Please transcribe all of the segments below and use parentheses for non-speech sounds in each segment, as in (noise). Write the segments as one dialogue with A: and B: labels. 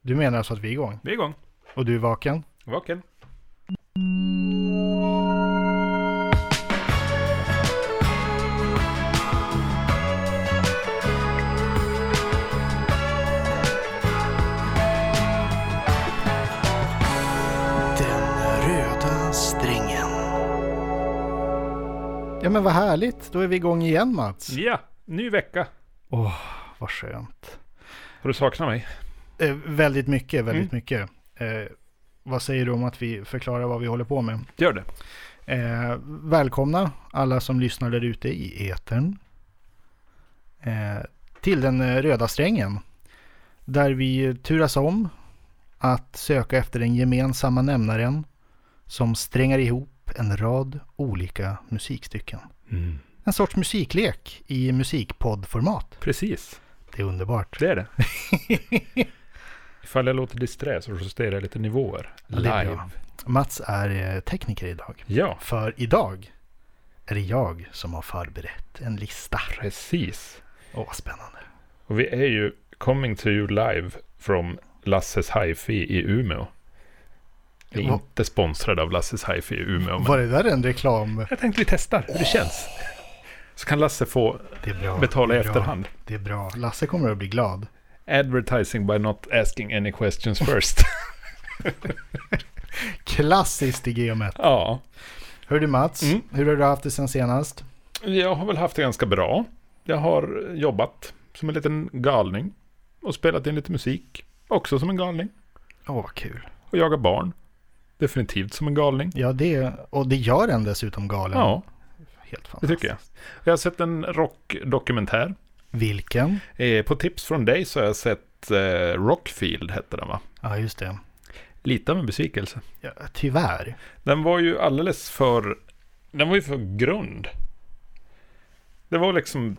A: Du menar alltså att vi är igång?
B: Vi är igång.
A: Och du är vaken?
B: Vaken.
C: Den röda strängen.
A: Ja men vad härligt, då är vi igång igen Mats.
B: Ja, ny vecka.
A: Åh, vad skönt.
B: Har du saknat mig?
A: Eh, väldigt mycket, väldigt
B: Mm.
A: mycket. Eh, vad säger du om att vi förklarar vad vi håller på med?
B: Gör det.
A: Eh, välkomna alla som lyssnar där ute i etern. Eh, till den eh, röda strängen. Där vi turas om att söka efter den gemensamma nämnaren som strängar ihop en rad olika musikstycken.
B: Mm.
A: En sorts musiklek i musikpoddformat.
B: Precis,
A: Det är underbart.
B: det är det. (laughs) Ifall jag låter disträ så justerar jag lite nivåer.
A: Ja, det är bra. Mats är eh, tekniker idag.
B: Ja,
A: För idag är det jag som har förberett en lista.
B: precis.
A: Åh, vad spännande.
B: Och vi är ju coming to you live from Lasses Hi-Fi i Umeå. Vi är
A: Va-
B: inte sponsrade av Lasses Hi-Fi i Umeå. Men
A: Var det där en reklam?
B: jag tänkte vi testar hur det känns. Så kan Lasse få
A: Det är bra.
B: betala i
A: det är bra,
B: efterhand.
A: Det är bra. Lasse kommer att bli glad.
B: Advertising by not asking any questions (laughs) first.
A: Klassiskt i geomet.
B: ja.
A: Hör du Mats,
B: Mm.
A: hur har du haft det sen senast?
B: Jag har väl haft det ganska bra. Jag har jobbat som en liten galning och spelat in lite musik, också som en galning.
A: Åh, vad kul.
B: Och jagat barn, definitivt som en galning.
A: Ja, det, och det gör en dessutom galen.
B: Ja,
A: Helt
B: det
A: fantastiskt.
B: tycker jag. Jag har sett en rockdokumentär.
A: Vilken?
B: Eh, på tips från dig så har jag sett eh, Rockfield, hette den va?
A: Ja, just det.
B: Lite av en besvikelse.
A: Ja, tyvärr.
B: Den var ju alldeles för... Den var ju för grund. Det var liksom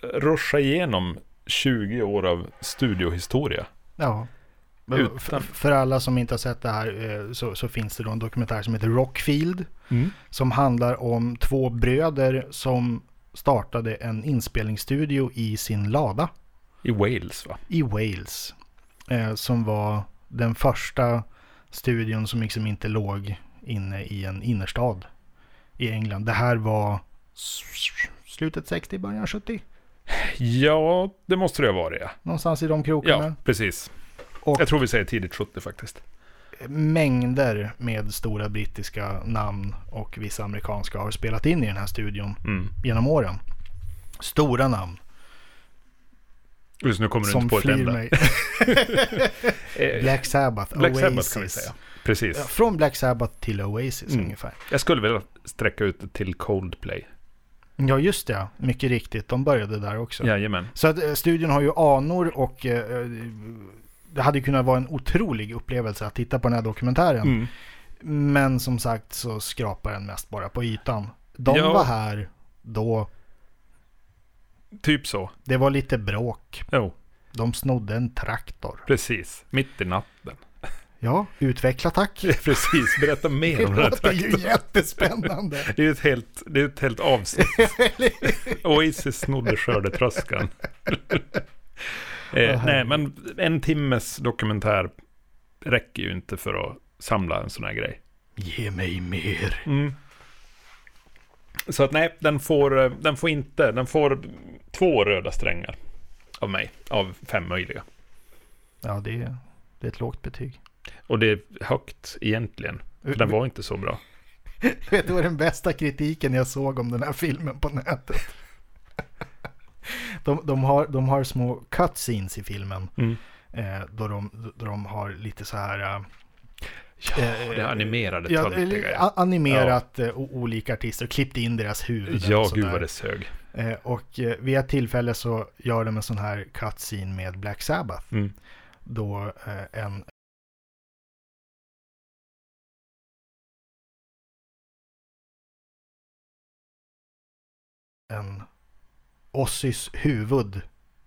B: ruscha igenom 20 år av studiohistoria.
A: Ja. Men
B: Utan-
A: f- För alla som inte har sett det här eh, så, så finns det då en dokumentär som heter Rockfield.
B: Mm.
A: Som handlar om två bröder som startade en inspelningsstudio i sin lada
B: I Wales va?
A: i Wales. Eh, som var den första studion som liksom inte låg inne i en innerstad i England. Det här var s- slutet 60, början 70.
B: Ja, det måste det ha varit. Ja,
A: Någonstans i de krokarna.
B: ja precis.
A: Och-
B: Jag tror vi säger tidigt 70 faktiskt.
A: mängder med stora brittiska namn och vissa amerikanska har spelat in i den här studion
B: Mm.
A: genom åren. Stora namn
B: Just nu kommer du
A: som
B: inte på ett
A: flyr
B: enda.
A: mig.
B: Eh,
A: Black Sabbath,
B: Black
A: Oasis.
B: Sabbath kan vi säga. Precis.
A: Ja, Från Black Sabbath till Oasis
B: Mm.
A: ungefär.
B: Jag skulle vilja sträcka ut det till Coldplay.
A: Ja, just det. Mycket riktigt. De började där också.
B: Jajamän.
A: Så att, eh, studion har ju anor och eh, eh, det hade kunnat vara en otrolig upplevelse att titta på den här dokumentären.
B: Mm.
A: Men som sagt så skrapar den mest bara på ytan. De
B: Ja.
A: var här då.
B: Typ så.
A: Det var lite bråk.
B: Jo,
A: De snodde en traktor.
B: precis. Mitt i natten.
A: (laughs) Ja, utveckla
B: (laughs)
A: tack.
B: precis, berätta mer
A: Det
B: om det här.
A: låter ju jättespännande.
B: Det är ju ett helt, det är ett helt avsnitt.
A: (laughs)
B: Oasis
A: (laughs)
B: snodde skördetröskan. eh, nej,
A: herregud.
B: men en timmes dokumentär räcker ju inte för att samla en sån här grej.
A: Ge mig mer.
B: Mm. Så att nej, den får, eh, den får inte, den får två röda strängar av mig, av fem möjliga.
A: Ja, det är, det är ett lågt betyg.
B: Och det är högt egentligen, för den var inte så bra.
A: Vet du vad den bästa kritiken jag såg om den här filmen på nätet? De, de, har, de har små cutscenes i filmen.
B: Mm.
A: Eh, då, de, då de har lite så här... eh,
B: Ja, det animerade
A: ja,
B: töntiga.
A: a- animerat eh, o- olika artister och klippt in deras huvuden. och
B: Ja,
A: sådär.
B: gud vad det sög.
A: Eh, och eh, vid ett tillfälle så gör de en sån här cutscene med Black Sabbath.
B: Mm.
A: Då eh, en en Ossys huvud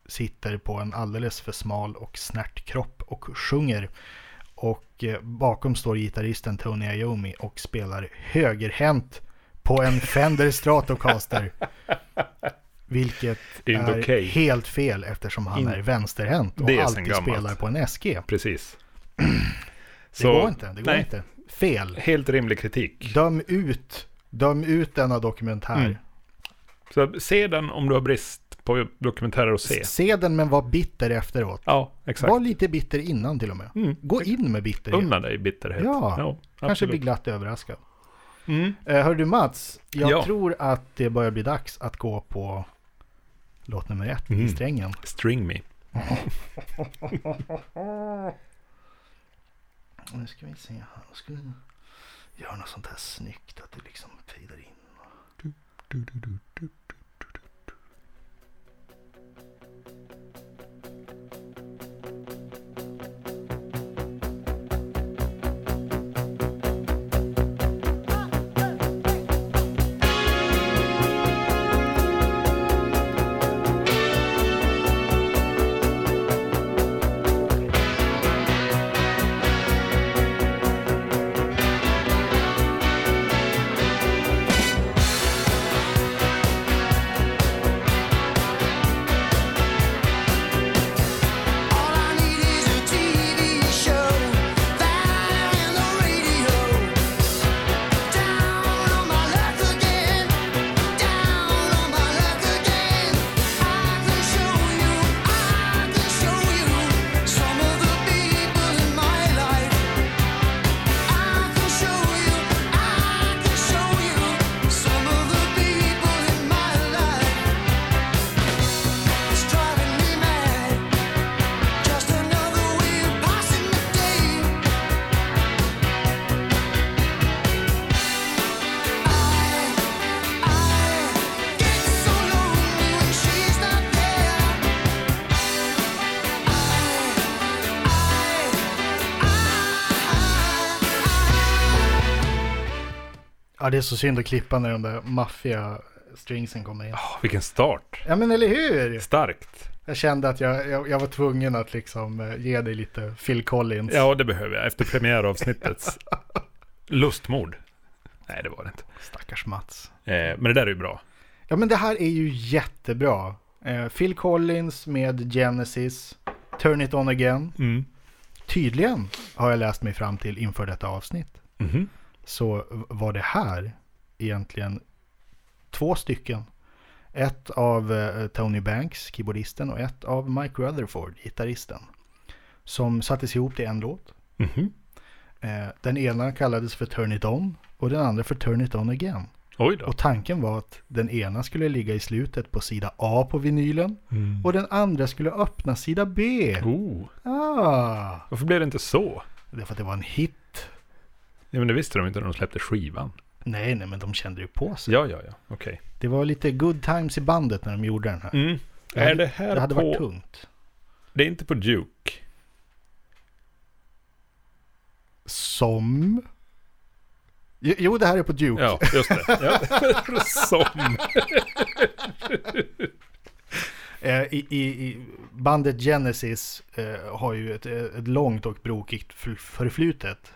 A: sitter på en alldeles för smal och snärt kropp och sjunger. Och eh, bakom står gitarristen Tony Iommi och spelar högerhänt på en Fender Stratocaster. Vilket
B: Det är inte
A: är
B: okej.
A: helt fel eftersom han
B: In-
A: är vänsterhänt och
B: Det är sen
A: alltid
B: gammalt.
A: spelar på en SG. Det
B: Precis.
A: går inte, det går
B: nej.
A: inte. Fel.
B: Helt rimlig kritik.
A: Döm ut, döm ut denna dokumentär.
B: Mm. Så se den om du har brist på dokumentärer att se.
A: Se den men var bitter efteråt.
B: Ja, exakt.
A: Var lite bitter innan till och med.
B: Mm.
A: Gå in med bitterhet.
B: Unna dig bitterhet.
A: Ja, Kanske bli
B: absolut.
A: glatt överraskad.
B: Mm.
A: Eh, hör du Mats, jag
B: Ja.
A: tror att det börjar bli dags att gå på låt nummer ett i
B: Mm.
A: strängen.
B: String me.
A: Nu ska vi se här. Jag skulle göra något sånt här snyggt att du liksom fejdar in.
D: All I need is a TV show, that and the radio. Down on my luck again, down on my luck again. I can show you, I can show you some of the people in my life. I can show you, I can show you some of the people in my life. It's driving me mad. Just another way of passing the day. I, I get so lonely when she's not there. I, I, I.
A: Ja, det är så synd att klippa när de där maffiga stringsen kommer in.
B: Ah, vilken start.
A: Ja, men eller hur?
B: Starkt.
A: Jag kände att jag, jag, jag var tvungen att liksom eh, ge dig lite Phil Collins.
B: Ja, det behöver jag efter
A: (laughs)
B: premiäravsnittets lustmord. Nej, det var det inte.
A: Stackars Mats.
B: Eh, men det där är ju bra.
A: Ja, men det här är ju jättebra. Eh, Phil Collins med Genesis, Turn It On Again.
B: Mm.
A: Tydligen har jag läst mig fram till inför detta avsnitt.
B: Mhm.
A: så var det här egentligen två stycken. Ett av eh, Tony Banks, keyboardisten, och ett av Mike Rutherford, gitarristen. Som sattes ihop till en låt.
B: Mhm.
A: Eh, Den ena kallades för Turn It On och den andra för Turn It On Again.
B: Oj då.
A: Och tanken var att den ena skulle ligga i slutet på sida A på vinylen
B: Mm.
A: och den andra skulle öppna sida B.
B: Oh,
A: Ah,
B: varför blev det inte så?
A: det är för att det var en hit.
B: Ja, men det visste de inte när de släppte skivan.
A: Nej, nej, men de kände ju på sig.
B: Ja, ja, ja. Okej.
A: Det var lite good times i bandet när de gjorde den här.
B: Mm.
A: Det hade-
B: Är det här
A: Det hade
B: på...
A: varit tungt.
B: Det är inte på Duke.
A: Som? Jo- Jo, det här är på Duke.
B: Ja, just det. (laughs) Ja. Som.
A: Eh, I, i, i bandet Genesis eh, har ju ett, ett långt och brokigt för- förflutet.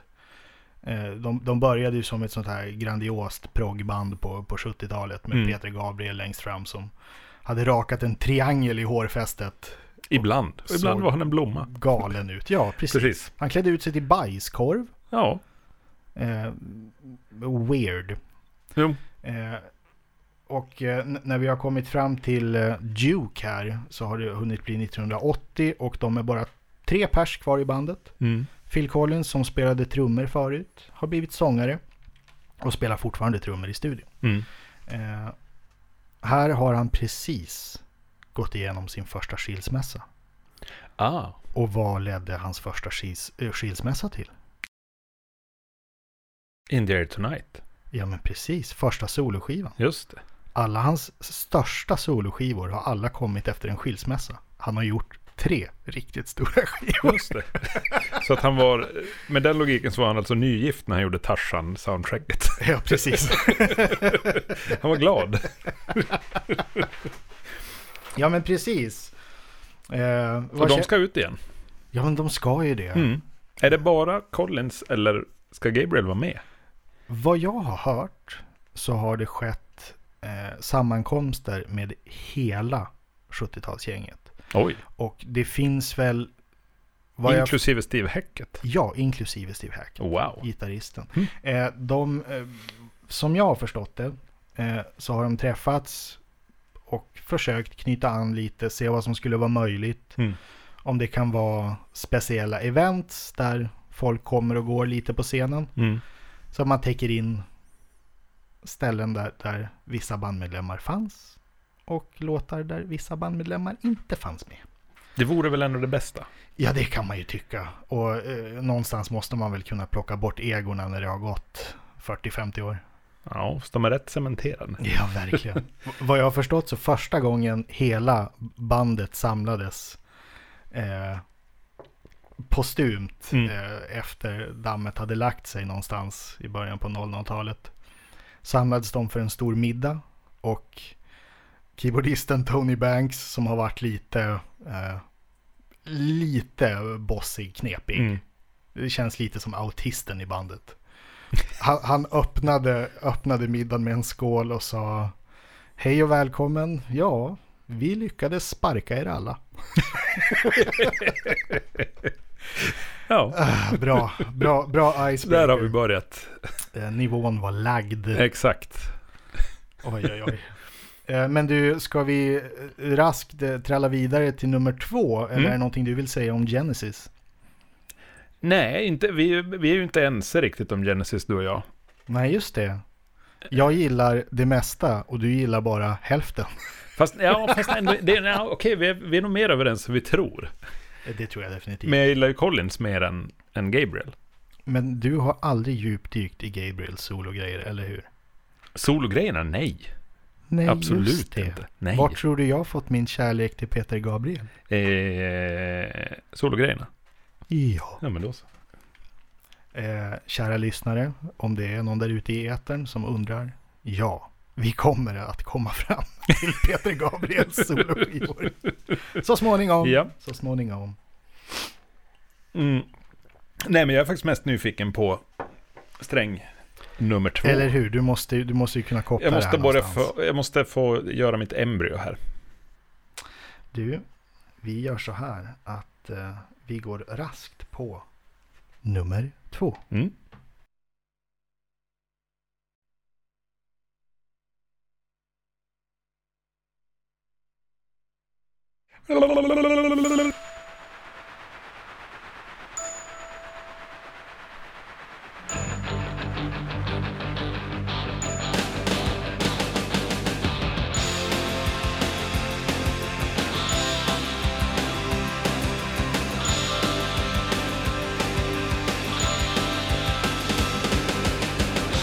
A: Eh, de, de började ju som ett sånt här grandiost proggband på, på 70-talet med
B: Mm.
A: Peter Gabriel längst fram som hade rakat en triangel i hårfästet.
B: Ibland. Och ibland
A: Så.
B: var han en blomma.
A: Galen ut. Ja, precis.
B: Precis.
A: Han klädde ut sig till bajskorv.
B: Ja.
A: Eh, weird.
B: Jo.
A: Eh, och eh, n- när vi har kommit fram till eh, Duke här så har det hunnit bli 1980 och de är bara tre pers kvar i bandet.
B: Mm.
A: Phil Collins som spelade trummor förut har blivit sångare och spelar fortfarande trummor i studion.
B: Mm.
A: Eh, här har han precis gått igenom sin första skilsmässa.
B: Ah.
A: Och vad ledde hans första skils- eh, skilsmässa till?
B: In the air tonight.
A: Ja men precis, första soloskivan.
B: Just det.
A: Alla hans största soloskivor har alla kommit efter en skilsmässa. Han har gjort tre riktigt stora (laughs) skivor.
B: Just det. (laughs) Så att han var, med den logiken så var han alltså nygift när han gjorde Tarzan soundtracket.
A: Ja, precis.
B: (laughs) Han var glad.
A: Ja, men precis. Eh,
B: Och
A: vad
B: de
A: kä-
B: ska ut igen.
A: Ja, men de ska ju det.
B: Mm. Är det bara Collins eller ska Gabriel vara med?
A: Vad jag har hört så har det skett eh, sammankomster med hela 70-talsgänget.
B: Oj,
A: Och det finns väl... vad jag,
B: inklusive Steve Hackett.
A: ja, inklusive Steve Hackett
B: Wow.
A: gitarristen.
B: Mm.
A: Eh, de, eh, som jag har förstått det, eh, så har de träffats och försökt knyta an lite, se vad som skulle vara möjligt.
B: Mm.
A: Om det kan vara speciella events där folk kommer och går lite på scenen.
B: Mm.
A: Så att man täcker in ställen där, där vissa bandmedlemmar fanns och låtar där vissa bandmedlemmar inte fanns med.
B: Det vore väl ändå det bästa?
A: Ja, det kan man ju tycka. Och eh, någonstans måste man väl kunna plocka bort egorna när det har gått 40-50 år.
B: Ja, så de är rätt cementerade.
A: Ja, verkligen. (laughs) V- Vad jag har förstått så första gången hela bandet samlades eh, postumt
B: Mm.
A: eh, efter dammet hade lagt sig någonstans i början på 00-talet samlades de för en stor middag och keyboardisten Tony Banks som har varit lite eh, lite bossig, knepig.
B: Mm.
A: Det känns lite som autisten i bandet. Han, han öppnade, öppnade middagen med en skål och sa Hej och välkommen. Ja, vi lyckades sparka er alla.
B: Ja,
A: Ah, Bra, bra, bra
B: där har vi
A: icebreaker.
B: börjat.
A: Eh, Nivån var lagd.
B: Exakt.
A: Oj, oj, oj. Eh, Men du, ska vi eh, raskt eh, tralla vidare till nummer två? Eller
B: Mm.
A: är det någonting du vill säga om Genesis?
B: Nej, inte, vi, vi är ju inte ense riktigt om Genesis, du och jag.
A: Nej, just det. Jag gillar det mesta och du gillar bara hälften.
B: Fast, ja, fast ändå, det, ja, okej, vi är, vi är nog mer överens än vi tror.
A: Eh, Det tror jag definitivt.
B: Men jag gillar ju Collins mer än, än Gabriel.
A: Men du har aldrig djupdykt i Gabriels sologrejer, eller hur?
B: Sologrejerna, nej.
A: Nej,
B: Absolut inte. Nej.
A: Var tror du jag fått min kärlek till Peter Gabriel?
B: Eh, sologrejerna.
A: Ja.
B: Ja, men då så.
A: Eh, kära lyssnare, om det är någon där ute i etern som undrar, ja, vi kommer att komma fram (laughs) till Peter Gabriels soloskivor. Så småningom.
B: Ja.
A: Så småningom.
B: Mm. Nej, men jag är faktiskt mest nyfiken på sträng nummer två.
A: Eller hur, du måste, ju- du måste ju kunna koppla
B: jag,
A: det
B: måste
A: här
B: bara
A: någonstans.
B: få, jag måste få göra mitt embryo här.
A: Du, vi gör så här att eh, vi går raskt på nummer två.
B: Mm.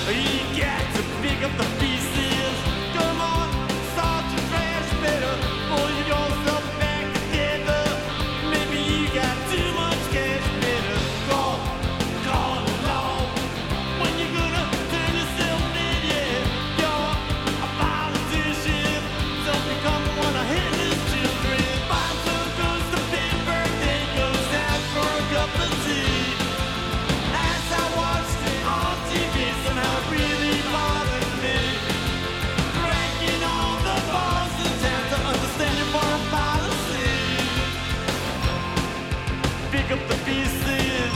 E: You got to pick up the pieces. Come on, start your trash better. Pull yourself back together. Maybe you got too much cash better. Call, call along. When you gonna turn yourself in? Yeah, you're a politician. So become one of Hitler's children. Bonzo goes to Pittsburgh, then goes out for a cup of tea. As I watched it on TV, somehow it really bothered me. Cracking all the balls in town to understand your foreign policy. Pick up the pieces.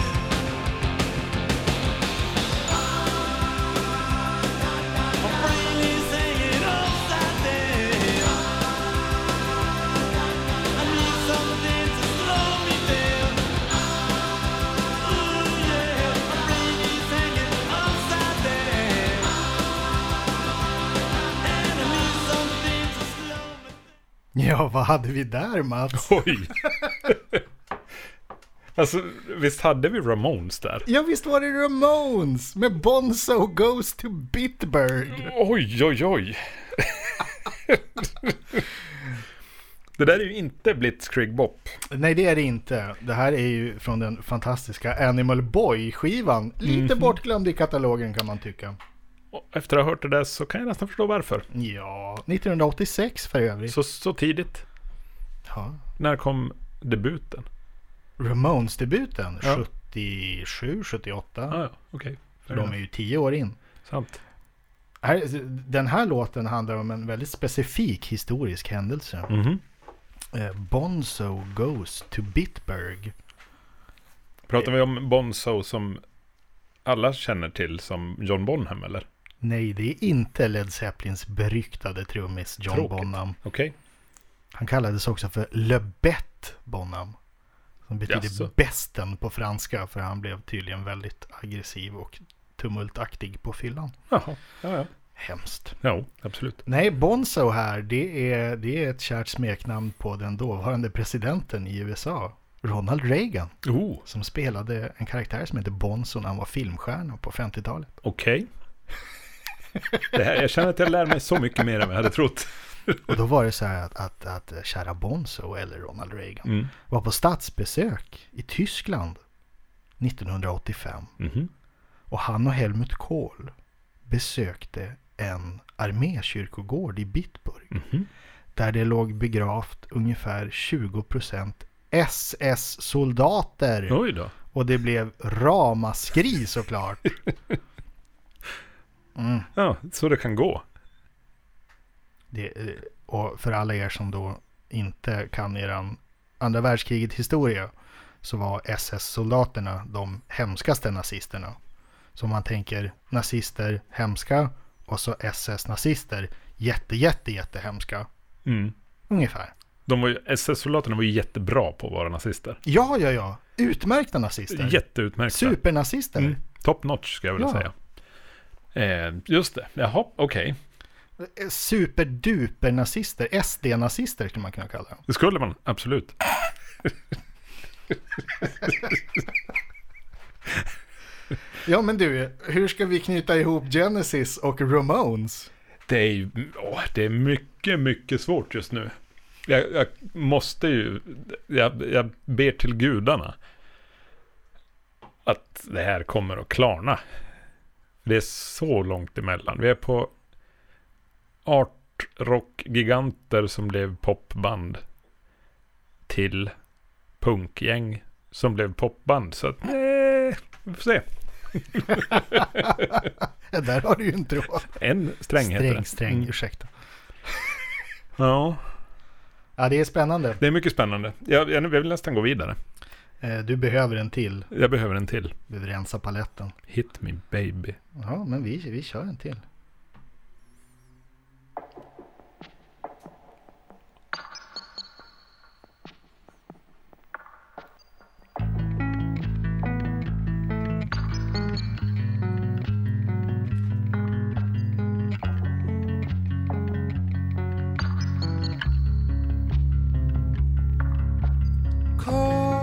E: My brain is hanging upside down. I need something to slow me down.
A: (laughs) Ja, vad hade vi där Mats?
B: Oj! (laughs) alltså, visst hade vi Ramones där?
A: Ja, visst var det Ramones med Bonzo Goes to Bitburg.
B: Oj, oj, oj! (laughs) det där är ju inte Blitzkrieg Bop.
A: Nej, det är det inte. Det här är ju från den fantastiska Animal Boy-skivan. Lite
B: Mhm.
A: bortglömd i katalogen kan man tycka.
B: Och Efter att ha hört det där så kan jag nästan förstå varför.
A: Ja, 1986 för övrigt.
B: Så, så tidigt.
A: Ja.
B: När kom debuten?
A: Ramones-debuten,
B: Ja.
A: 77, 78.
B: Ah, ja, okej.
A: De är ju tio år in.
B: Sant.
A: Här, den här låten handlar om en väldigt specifik historisk händelse.
B: Mhm.
A: Eh, Bonzo goes to Bitburg.
B: Pratar vi om Bonzo som alla känner till som John Bonham eller?
A: Nej, det är inte Led Zeppelins beryktade trummis John
B: Tråkigt.
A: Bonham.
B: Okej.
A: Han kallades också för Le Bête Bonham. Som betyder
B: Jaså.
A: bästen på franska. För han blev tydligen väldigt aggressiv och tumultaktig på fyllan.
B: Jaha, ja, ja.
A: Hemskt.
B: Jo, absolut.
A: Nej, Bonzo här, det är, det är ett kärt smeknamn på den dåvarande presidenten i USA. Ronald Reagan,
B: Oh,
A: som spelade en karaktär som hette Bonzo när han var filmstjärna på 50-talet.
B: okej. Det här, jag känner att jag lär mig så mycket mer än vad jag hade trott.
A: Och då var det så här att, att, att eh, kära Bonzo, eller Ronald Reagan,
B: Mm.
A: var på statsbesök i Tyskland 1985.
B: Mhm.
A: Och han och Helmut Kohl besökte en armékyrkogård i Bitburg.
B: Mhm.
A: Där det låg begravt ungefär 20% SS-soldater.
B: Oj då.
A: Och det blev ramaskri såklart. Mm,
B: Ja, så det kan gå.
A: det, eh, och för alla er som då inte kan eran andra världskriget historia så var SS-soldaterna de hemskaste nazisterna. Så om man tänker nazister hemska och så SS-nazister jätte jätte jätte hemska.
B: Mm.
A: Ungefär.
B: De var ju, SS-soldaterna var ju jättebra på att vara nazister.
A: Ja, ja, ja. Utmärkta nazister.
B: Jätteutmärkta.
A: Supernazister.
B: Mm. Top notch ska jag vilja
A: Ja.
B: säga. Eh, just det, jaha, okej.
A: Eh, Superduper-nazister. SD-nazister skulle man kunna kalla dem.
B: Det skulle man, absolut.
A: Ja, men du, hur ska vi knyta ihop Genesis och Ramones?
B: Det är, ju- åh, det är mycket, mycket svårt just nu. Jag, jag måste ju, jag, jag ber till gudarna att det här kommer att klarna. Det är så långt emellan. Vi är på artrockgiganter som blev popband till punkgäng som blev popband. Så att, nej, vi får se.
A: Ja, (laughs) Där har du ju en tråd.
B: En sträng, heter det.
A: Sträng, sträng,
B: Mm.
A: ursäkta.
B: Ja,
A: Ja, det är spännande.
B: det är mycket spännande. Jag, jag vill nästan gå vidare.
A: Eh, Du behöver en till.
B: Jag behöver en till.
A: Du vill rensa paletten.
B: Hit me
A: (laughs)
B: baby.
A: Ja, men vi, vi kör en till.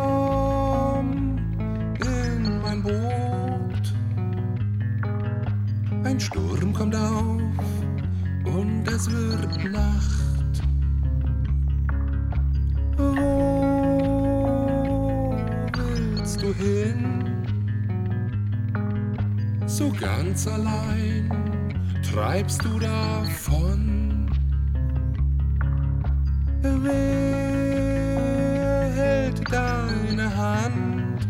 C: Komm in mein Boot. Ein Sturm kommt auf und es wird Nacht. Wo willst du hin? So ganz allein treibst du davon. Wer hält deine Hand,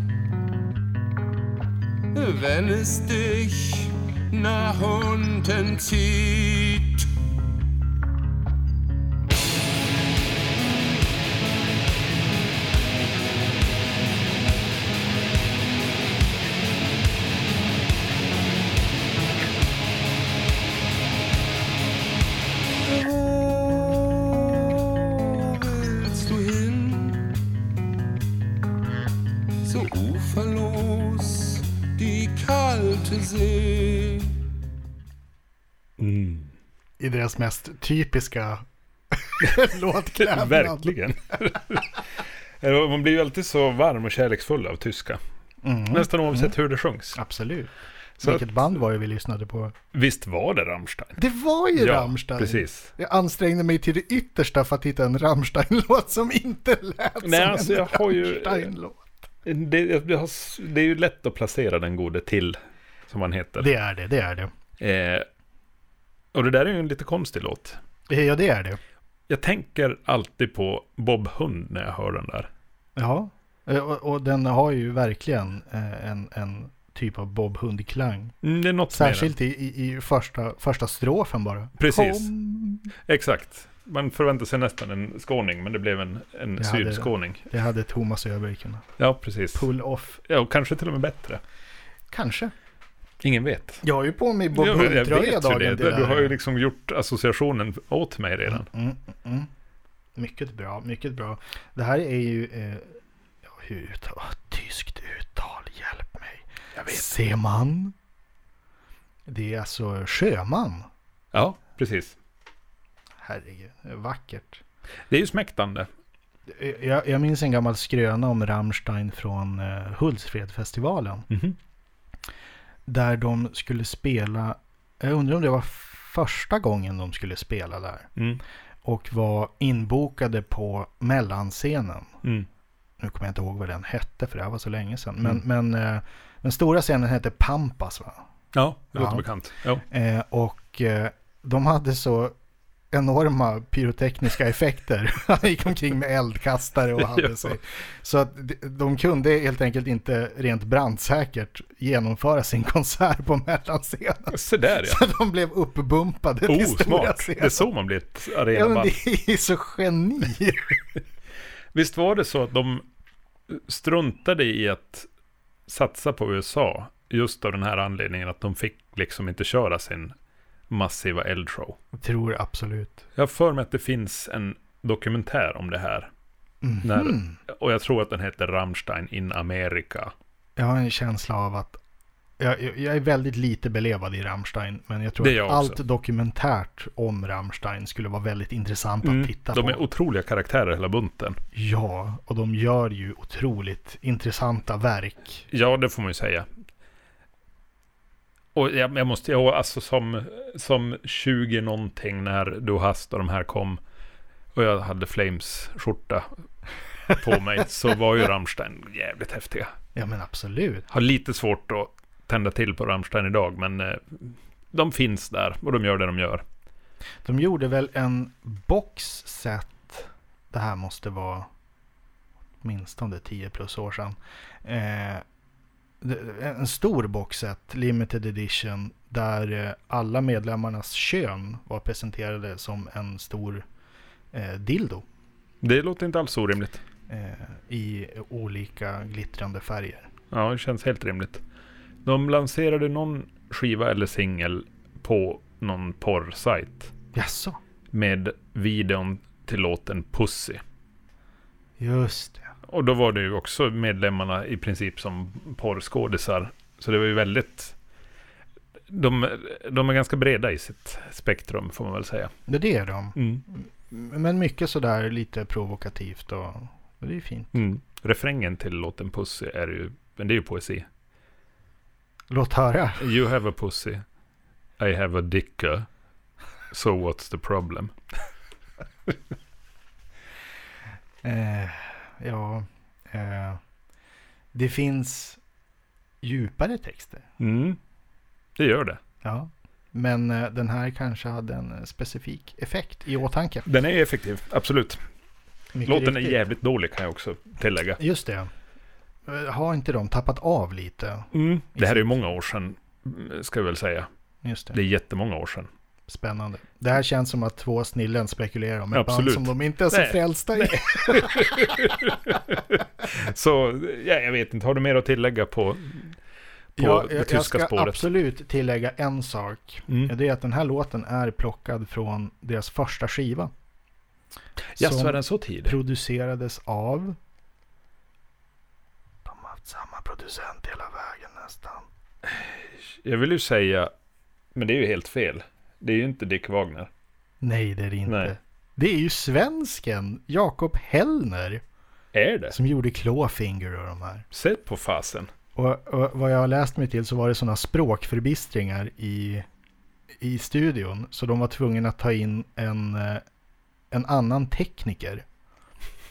C: wenn es dich nach unten zieht? Wo willst du hin? So uferlos die kalte See.
A: I deras mest typiska (laughs) låtklädnad.
B: Verkligen. (laughs) Eh, Man blir ju alltid så varm och kärleksfull av tyska.
A: Mm.
B: Nästan oavsett hur det sjungs.
A: Absolut.
B: Så
A: Vilket band var det vi lyssnade på?
B: Visst var det Rammstein?
A: Det var ju Rammstein.
B: precis.
A: Jag ansträngde mig till det yttersta för att hitta en Rammstein-låt som inte lät
B: Nej,
A: som
B: alltså
A: en
B: jag har ju-
A: Rammstein-låt.
B: Det, jag- jag har s- det är ju lätt att placera den gode till, som han heter.
A: Det är det, det är det.
B: Eh, och det där är ju en lite konstig låt.
A: Eh, Ja, det är det.
B: Jag tänker alltid på Bob Hund när jag hör den där.
A: Ja, eh, och, och den har ju verkligen eh, en, en typ av Bob Hund-klang.
B: Mm, Det är något Särskilt.
A: Särskilt i, i, i första, första strofen bara.
B: Precis.
A: Kom.
B: Exakt. Man förväntar sig nästan en skåning, men det blev en, en
A: Jag hade-
B: sydskåning.
A: Det hade Thomas Öberg kunnat.
B: Ja, precis.
A: Pull off.
B: Ja, och kanske till och med bättre.
A: Kanske.
B: Ingen vet.
A: Jag har ju på mig Bob
B: Ja, men jag
A: Hund-tröja
B: vet ju
A: dagen
B: det.
A: till det
B: Du
A: här.
B: har ju liksom gjort associationen åt mig redan.
A: Mm, mm, mm.
B: liksom-
A: Mycket bra, mycket bra. Det här är ju... Eh, ja, hur uttal, tyskt uttal, hjälp mig.
B: Jag
A: Seman. Det är alltså sjöman.
B: Ja, precis.
A: Herregud, vackert.
B: Det är ju smäktande.
A: Eh, Jag, jag minns en gammal skröna om Rammstein från eh, Hultsfredfestivalen.
B: Mhm.
A: Där de skulle spela, jag undrar om det var första gången de skulle spela där.
B: Mm.
A: Och var inbokade på mellanscenen.
B: Mm.
A: Nu kommer jag inte ihåg vad den hette för det här var så länge sedan. Men,
B: Mm.
A: men eh, den stora scenen hette Pampas va?
B: Ja, det låter
A: Ja.
B: bekant. Ja.
A: Eh, och eh, de hade så enorma pyrotekniska effekter. (laughs) Han gick omkring med eldkastare och hade
B: (laughs) Ja.
A: sig. Så att de- de kunde helt enkelt inte rent brandsäkert genomföra sin konsert på mellanscenen.
B: Se där
A: (laughs)
B: ja.
A: Så de blev uppbumpade till
B: Oh,
A: stora
B: smart. Det är
A: scenen.
B: så man blir ett
A: Ja, men
B: arenaband.
A: det är så geni. (laughs)
B: Visst var det så att de struntade i att satsa på USA just av den här anledningen att de fick liksom inte köra sin massiva eldshow.
A: Jag tror absolut.
B: Jag har för mig att det finns en dokumentär om det här.
A: Mhm.
B: När, och jag tror att den heter Rammstein in America.
A: Jag har en känsla av att jag, jag- jag är väldigt lite belevad i Rammstein, men jag tror
B: Det
A: att
B: är jag
A: allt
B: också.
A: dokumentärt om Rammstein skulle vara väldigt intressant att titta
B: Mm, De
A: på.
B: är otroliga karaktärer hela bunten.
A: Ja, och de gör ju otroligt intressanta verk.
B: Ja, det får man ju säga. Och jag, jag måste, jag, alltså som, som 20 någonting när Du Hast och de här kom och jag hade Flames-skjorta på
A: (laughs)
B: mig så var ju Rammstein jävligt häftiga.
A: Ja, men absolut.
B: Har lite svårt att tända till på Rammstein idag men eh, de finns där och de gör det de gör.
A: De gjorde väl en box set, det här måste vara åtminstone 10 plus år sedan. Eh, det- en stor box set, limited edition, där eh, alla medlemmarnas kön var presenterade som en stor eh, dildo
B: Det låter inte alls orimligt.
A: eh, i olika glittrande färger.
B: Ja, det känns helt rimligt. De lanserade någon skiva eller singel på någon porrsajt.
A: Jaså?
B: med videon till låten Pussy.
A: Just det.
B: Och då var det ju också medlemmarna i princip som porrskådisar. Så det var ju väldigt... De, de är ganska breda i sitt spektrum får man väl säga.
A: Ja, Det är de. Men mycket sådär lite provokativt och, och det är ju fint.
B: Mm. Refrängen till låten Pussy är ju... Men det är ju poesi.
A: Låt höra.
B: You have a pussy. I have a dicka. So what's the problem?
A: Eh, ja, eh, det finns djupare texter.
B: Mm. Det gör det.
A: Ja. Men eh, den här kanske hade en eh, specifik effekt i åtanke.
B: Den är effektiv, absolut.
A: Mycket
B: Låten är
A: riktigt.
B: jävligt dålig kan jag också tillägga.
A: Just det. Eh, Har inte de tappat av lite?
B: Det här är ju många år sedan, ska jag väl säga.
A: Just
B: Det
A: det.
B: är jättemånga år sedan.
A: Spännande. Det här känns som att två snillen spekulerar om ett
B: Absolut.
A: band som de inte är så
B: Nej.
A: frälsta i.
B: Så ja, jag vet inte, har du mer att tillägga på, på
A: Ja,
B: det
A: jag,
B: tyska
A: jag ska
B: spåret?
A: absolut tillägga en sak.
B: Mm.
A: Det är att den här låten är plockad från deras första skiva.
B: Ja, så
A: Som-
B: är den så tidig.
A: Producerades av... De har haft samma producent hela vägen nästan.
B: Jag vill ju säga, men det är ju helt fel. Det är ju inte Dick Wagner.
A: Nej, det är det inte.
B: Nej.
A: Det är ju svensken Jakob Hellner
B: Är det?
A: som gjorde Clawfinger och de här.
B: Se på fasen.
A: Och, och vad jag har läst mig till så var det sådana språkförbistringar i, i studion. Så de var tvungna att ta in en, eh, en annan tekniker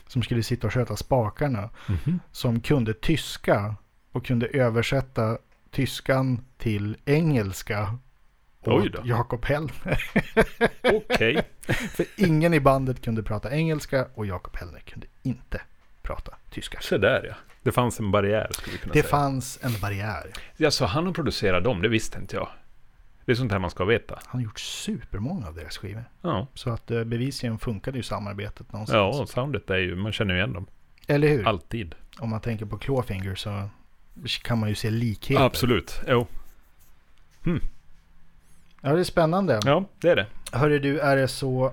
A: som skulle sitta och sköta spakarna.
B: Mhm.
A: som kunde tyska och kunde översätta tyskan till engelska.
B: Oj
A: åt
B: då.
A: Jakob Hellner.
B: Okej.
A: För ingen i bandet kunde prata engelska och Jakob Hellner kunde inte prata tyska.
B: Så där ja. Det fanns en barriär skulle vi kunna
A: Det
B: säga.
A: fanns en barriär.
B: Alltså han har producerat dem, det visste inte jag. Det är sånt här man ska veta.
A: Han har gjort supermånga av deras skivor.
B: Ja,
A: Så att eh, bevisligen funkade ju samarbetet någonstans.
B: ja och soundet är ju, man känner ju igen dem.
A: Eller
B: Typ.
A: hur?
B: Alltid.
A: Om man tänker på Clawfinger så kan man ju se likheter.
B: Absolut, jo.
A: Ja, det är spännande.
B: Ja, det är det.
A: Hörru du, är det så...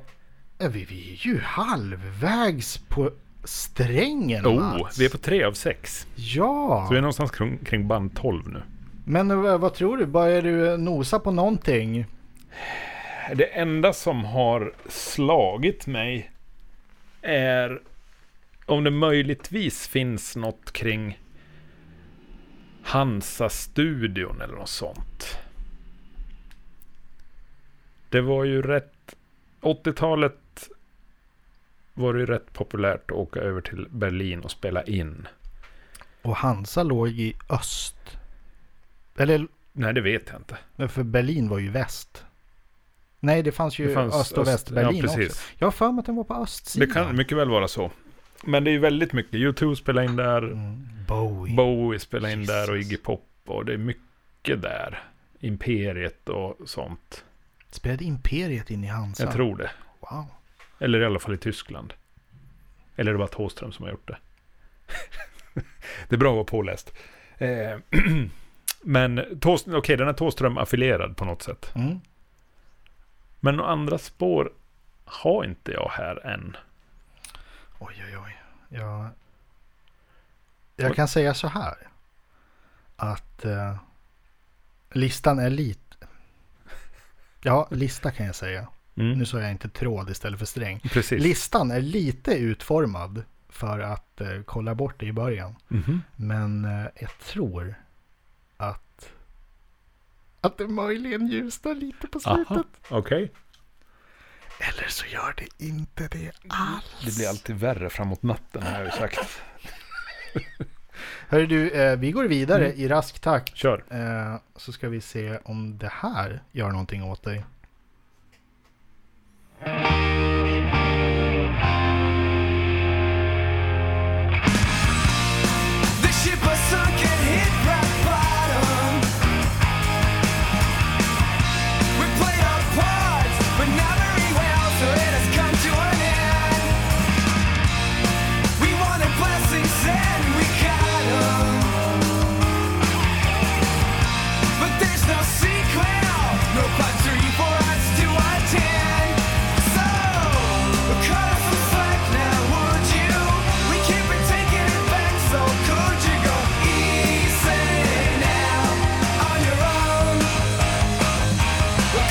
A: Ja, Vi, vi är ju halvvägs på strängen
B: Oh,
A: Mats.
B: vi är på tre av sex.
A: Ja,
B: Så vi är någonstans kring, kring band 12 nu.
A: men eh, vad tror du? Börjar du nosa på någonting?
B: Det enda som har slagit mig är om det möjligtvis finns något kring Hansa-studion eller något sånt. Det var ju rätt... 80-talet var det ju rätt populärt att åka över till Berlin och spela in.
A: Och Hansa låg i öst. Eller,
B: Nej, det vet jag inte.
A: för Berlin var ju väst. Nej, det fanns ju
B: Det fanns
A: öst och
B: öst-
A: västberlin
B: ja, precis.
A: också. Jag har för mig att den var på
B: Det
A: östsidan.
B: kan mycket väl vara så. Men det är ju väldigt mycket. YouTube spelar in där.
A: Mm, Bowie.
B: Bowie spelade in där och
A: Jesus.
B: Iggy Pop och det är mycket där. Imperiet och sånt.
A: Spelade Imperiet in i Hansa?
B: Jag tror det.
A: Wow.
B: Eller i alla fall i Tyskland. Eller det var Thåström som har gjort det. (laughs) det är bra att vara påläst. Eh, (clears throat) Men Thås- okej, den är Thåström affilierad på något sätt.
A: Mm.
B: Men några andra spår har inte jag här än.
A: Oj, oj, oj. Jag, jag kan säga så här. Att eh, listan är lite... Ja, lista kan jag säga.
B: Mm.
A: Nu sa jag inte tråd istället för sträng.
B: Precis.
A: Listan är lite utformad för att eh, kolla bort det i början.
B: Mhm.
A: Men eh, jag tror att, att det möjligen ljusnar lite på slutet.
B: Aha, okej.
A: Eller så gör det inte det
B: Ah.
A: alls.
B: Det blir alltid värre framåt natten har jag ju sagt.
A: Hörru du, eh, vi går vidare
B: Mm.
A: i rask takt.
B: Kör.
A: Eh, så ska vi se om det här gör någonting åt dig.
C: The ship has sunk and hit rock bottom. We played our parts, but not very well, so it has come to an end. We wanted blessings and we got 'em. But there's no sequel, no part three for us to attend. So, cut us some slack now, would you? We can't be taking it back, so could you go easy now on your own?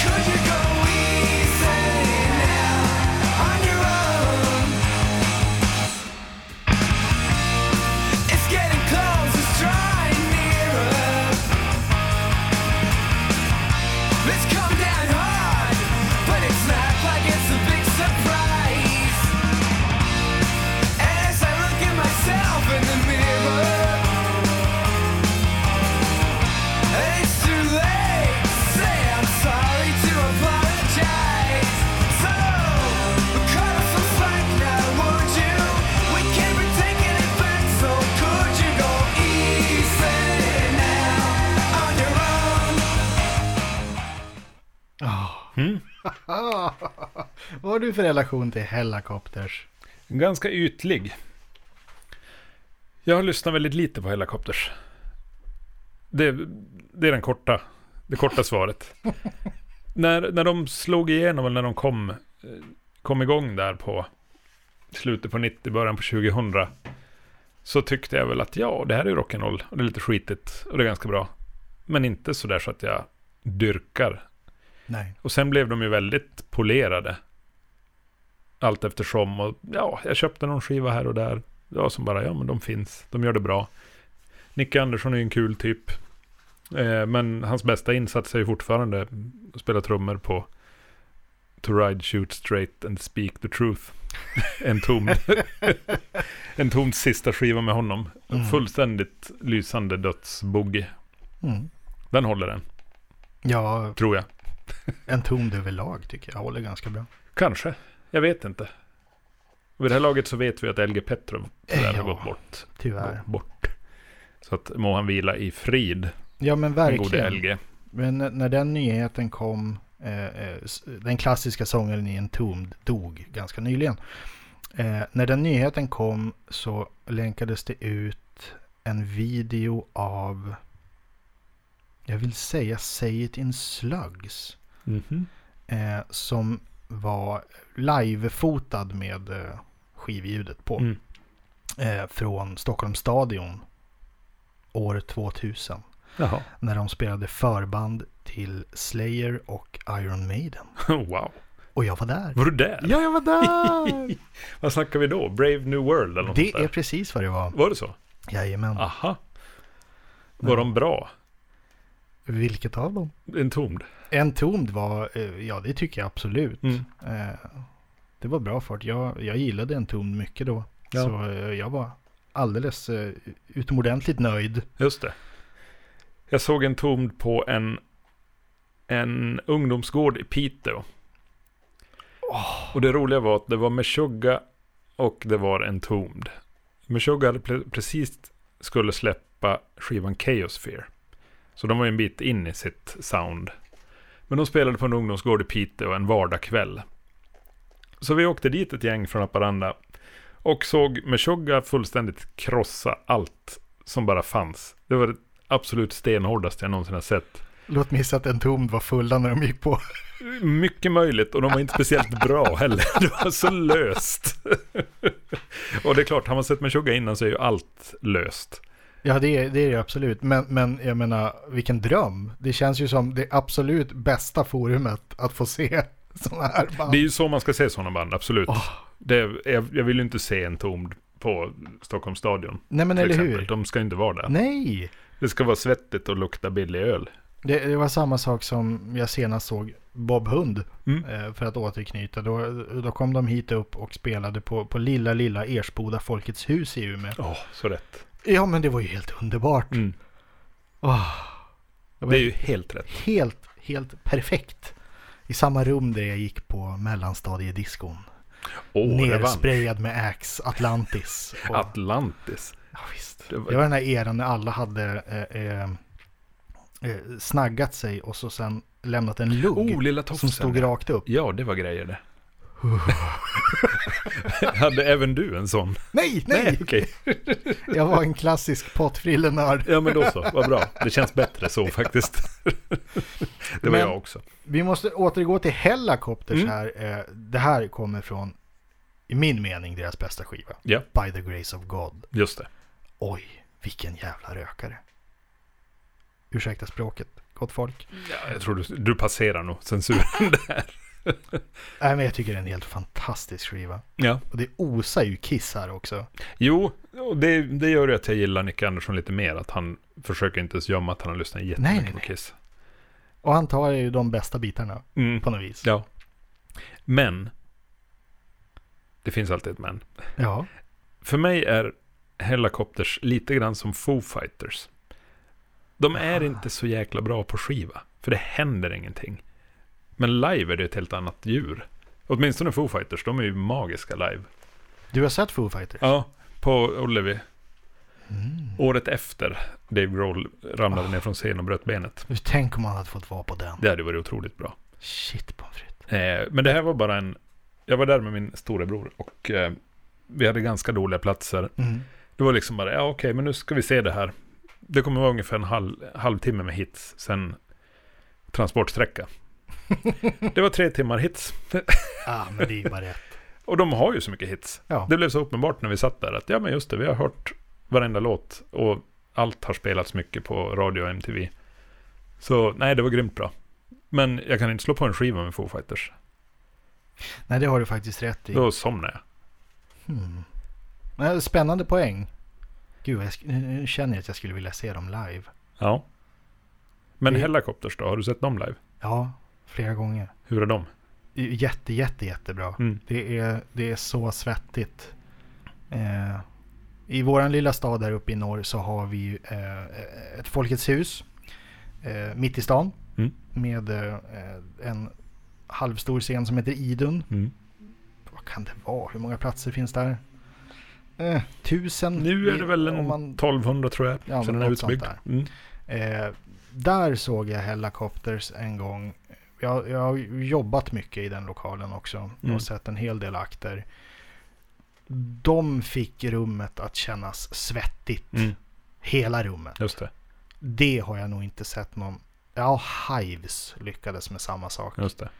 C: Could you go easy now on your own? It's getting close, it's drawing nearer. It's come down hard, but it's not like it's a big surprise. As I look at myself in the mirror, it's too late to say I'm sorry to apologize. So cut us some slack now, would you? We can't be taking it back, so could you go easy now on your own?
A: Vad har du för relation till Hellacopters?
B: Ganska ytlig. Jag har lyssnat väldigt lite på Helicopters. Det, det är den korta, det korta svaret. när, när de slog igenom, eller när de kom, eh, kom igång där på slutet på 90, början på 2000, så tyckte jag väl att ja, det här är ju rock'n'roll, och det är lite skitigt, och det är ganska bra. Men inte sådär så att jag dyrkar
A: Nej.
B: och sen blev de ju väldigt polerade. Allt eftersom. Och ja, jag köpte någon skiva här och där. Ja, som bara, ja men de finns. De gör det bra. Nicke Andersson är ju en kul typ. Eh, men hans bästa insats är ju fortfarande att spela trummor på To Ride, Shoot Straight and Speak the Truth. (laughs) En tom, (laughs) en tom sista skiva med honom. En fullständigt lysande dödsboogie.
A: Mm.
B: Den håller den,
A: Ja,
B: tror jag.
A: en tom överlag tycker jag håller ganska bra.
B: Kanske. Jag vet inte. Vid det här laget så vet vi att LG Petrov tyvärr har
A: Ja.
B: gått bort.
A: tyvärr.
B: bort. Så att må han vila i frid,
A: Ja men
B: den gode
A: verkligen.
B: LG.
A: Men när den nyheten kom, eh, eh, s- den klassiska sångaren i Entombed dog ganska nyligen. Eh, när den nyheten kom så länkades det ut en video av, jag vill säga Say It In Slugs. eh, som var live-fotad med eh, skivljudet på.
B: Mm.
A: Eh, från Stockholms stadion år 2000.
B: Jaha,
A: När de spelade förband till Slayer och Iron Maiden.
B: wow.
A: Och jag var där.
B: Var du där?
A: Ja, jag var
C: (laughs)
A: där!
B: (laughs) Vad snackar vi då? Brave New World eller något
A: det
B: sånt där?
A: är precis vad det var.
B: Var det så?
A: Jajamän.
B: Aha. Var de bra?
A: Vilket av dem?
B: En tomd?
A: Entombed var, eh, ja det tycker jag absolut.
B: Mm.
A: Eh, det var bra fart. Jag, jag gillade Entombed mycket då.
B: Ja.
A: Så eh, jag var alldeles eh, utomordentligt nöjd.
B: Just det. Jag såg en tomd på en, en ungdomsgård i Piteå. Och det roliga var att det var Meshuggah och det var en tomd. Meshuggah hade pre- precis skulle släppa skivan Chaosphere. Så de var ju en bit in i sitt sound. Men de spelade på en ungdomsgård i Piteå en vardagkväll. Så vi åkte dit ett gäng från Haparanda och såg Meshuggah fullständigt krossa allt som bara fanns. Det var det absolut stenhårdaste jag någonsin har sett.
A: Låt mig gissa att Entombed var fulla när de gick på. (laughs)
B: Mycket möjligt och de var inte speciellt bra heller. (laughs) Det var så löst. och det är klart, har man sett Meshuggah innan så är ju allt löst.
A: Ja, det är det, är det absolut. Men, men jag menar, vilken dröm. Det känns ju som det absolut bästa forumet att få se (laughs) sådana här band.
B: Det är ju så man ska se sådana band, absolut. Det, jag, jag vill ju inte se en tomd på Stockholms stadion.
A: Nej, men
B: till
A: eller
B: exempel.
A: hur?
B: De ska ju inte vara där.
A: Nej!
B: Det ska vara svettigt och lukta billig öl.
A: Det, det var samma sak som jag senast såg Bob Hund,
B: Mm.
A: eh, för att återknyta. Då, då kom de hit upp och spelade på, på lilla, lilla Ersboda Folkets hus i Umeå.
B: Ja, så rätt.
A: Ja, men det var ju helt underbart.
B: Mm.
A: Åh,
B: Det är ju helt rätt.
A: helt, helt perfekt. I samma rum där jag gick på mellanstadiediskon.
B: Åh, det vann.
A: Nersprayad med Axe Atlantis. Och,
B: Atlantis.
A: ja, visst.
B: Det var-
A: Det var den här eran när alla hade eh, eh, eh, snaggat sig och så sen lämnat en lugg
B: Oh, lilla
A: som
B: tofsen.
A: stod rakt upp.
B: Ja, det var grejer det. (laughs) Hade även du en sån?
A: Nej, nej!
B: okej.
A: Jag var en klassisk pottfrillenörd.
B: Ja, men då så. Vad bra. Det känns bättre så faktiskt. det var
A: Men-
B: jag också.
A: Vi måste återgå till Hellacopters
B: Mm.
A: här. Eh, det här kommer från, i min mening, deras bästa skiva.
B: Ja.
A: By the grace of God.
B: Just det.
A: Oj, vilken jävla rökare. Ursäkta språket, gott folk.
B: Ja, jag tror du, du passerar nog censuren där.
A: Nej, men jag tycker det är en helt fantastisk skiva.
B: Ja.
A: Och det osar ju Kiss här också.
B: Jo, och det, det gör ju att jag gillar Nick Andersson lite mer. Att han försöker inte ens gömma att han har lyssnat jättemycket
A: Nej, nej,
B: på
A: nej.
B: Kiss.
A: Och han tar ju de bästa bitarna
B: Mm.
A: på något vis.
B: Ja. Men. Det finns alltid ett men.
A: Ja.
B: För mig är Hellacopters lite grann som Foo Fighters. De är inte så jäkla bra på skiva, för det händer ingenting. Men live är det ett helt annat djur. Åtminstone Foo Fighters, de är ju magiska live.
A: Du har sett Foo Fighters?
B: Ja, på Olivy. Året efter Dave Grohl ramlade ner från scenen och bröt benet.
A: Nu tänk om han hade fått vara på den.
B: Det hade varit otroligt bra.
A: Shit pommes frites.
B: Eh, men det här var bara en... Jag var där med min storebror och eh, vi hade ganska dåliga platser.
A: Mm.
B: Det var liksom bara, ja okej, men nu ska vi se det här. Det kommer vara ungefär en halv, halvtimme med hits, sen transportsträcka. det var tre timmar hits.
A: Ah, men det är ju bara rätt.
B: Och de har ju så mycket hits.
A: Ja.
B: Det blev så uppenbart när vi satt där att, ja men just det, vi har hört varenda låt och allt har spelats mycket på radio och MTV. Så nej, det var grymt bra. Men jag kan inte slå på en skiva med Foo Fighters.
A: Nej, det har du faktiskt rätt i.
B: Då somnar jag.
A: Hmm. Nej, Spännande poäng. Gud, vad jag sk- nu- nu känner jag att jag skulle vilja se dem live.
B: Ja. Men
A: Det-
B: Hellacopters då, har du sett dem live?
A: Ja, flera gånger.
B: Hur är de?
A: Jätte, jätte, jättebra.
B: Mm.
A: Det är, det är så svettigt. Eh, I våran lilla stad här uppe i norr så har vi ju, eh, ett Folkets hus eh, mitt i stan.
B: Mm.
A: Med eh, en halvstor scen som heter Idun.
B: Mm.
A: Vad kan det vara? Hur många platser finns där? Eh, tusen?
B: Nu är det väl en
A: om man-
B: 1200 tror jag,
A: Ja, men
B: sen den är
A: något sånt
B: utbyggd. Mm.
A: Eh, där såg jag Hellacopters en gång. Jag, jag har jobbat mycket i den lokalen också
B: Mm.
A: och sett en hel del akter. De fick rummet att kännas svettigt.
B: Mm,
A: Hela rummet.
B: just det,
A: Det har jag nog inte sett någon. Ja, Hives lyckades med samma sak.
B: just det. (laughs)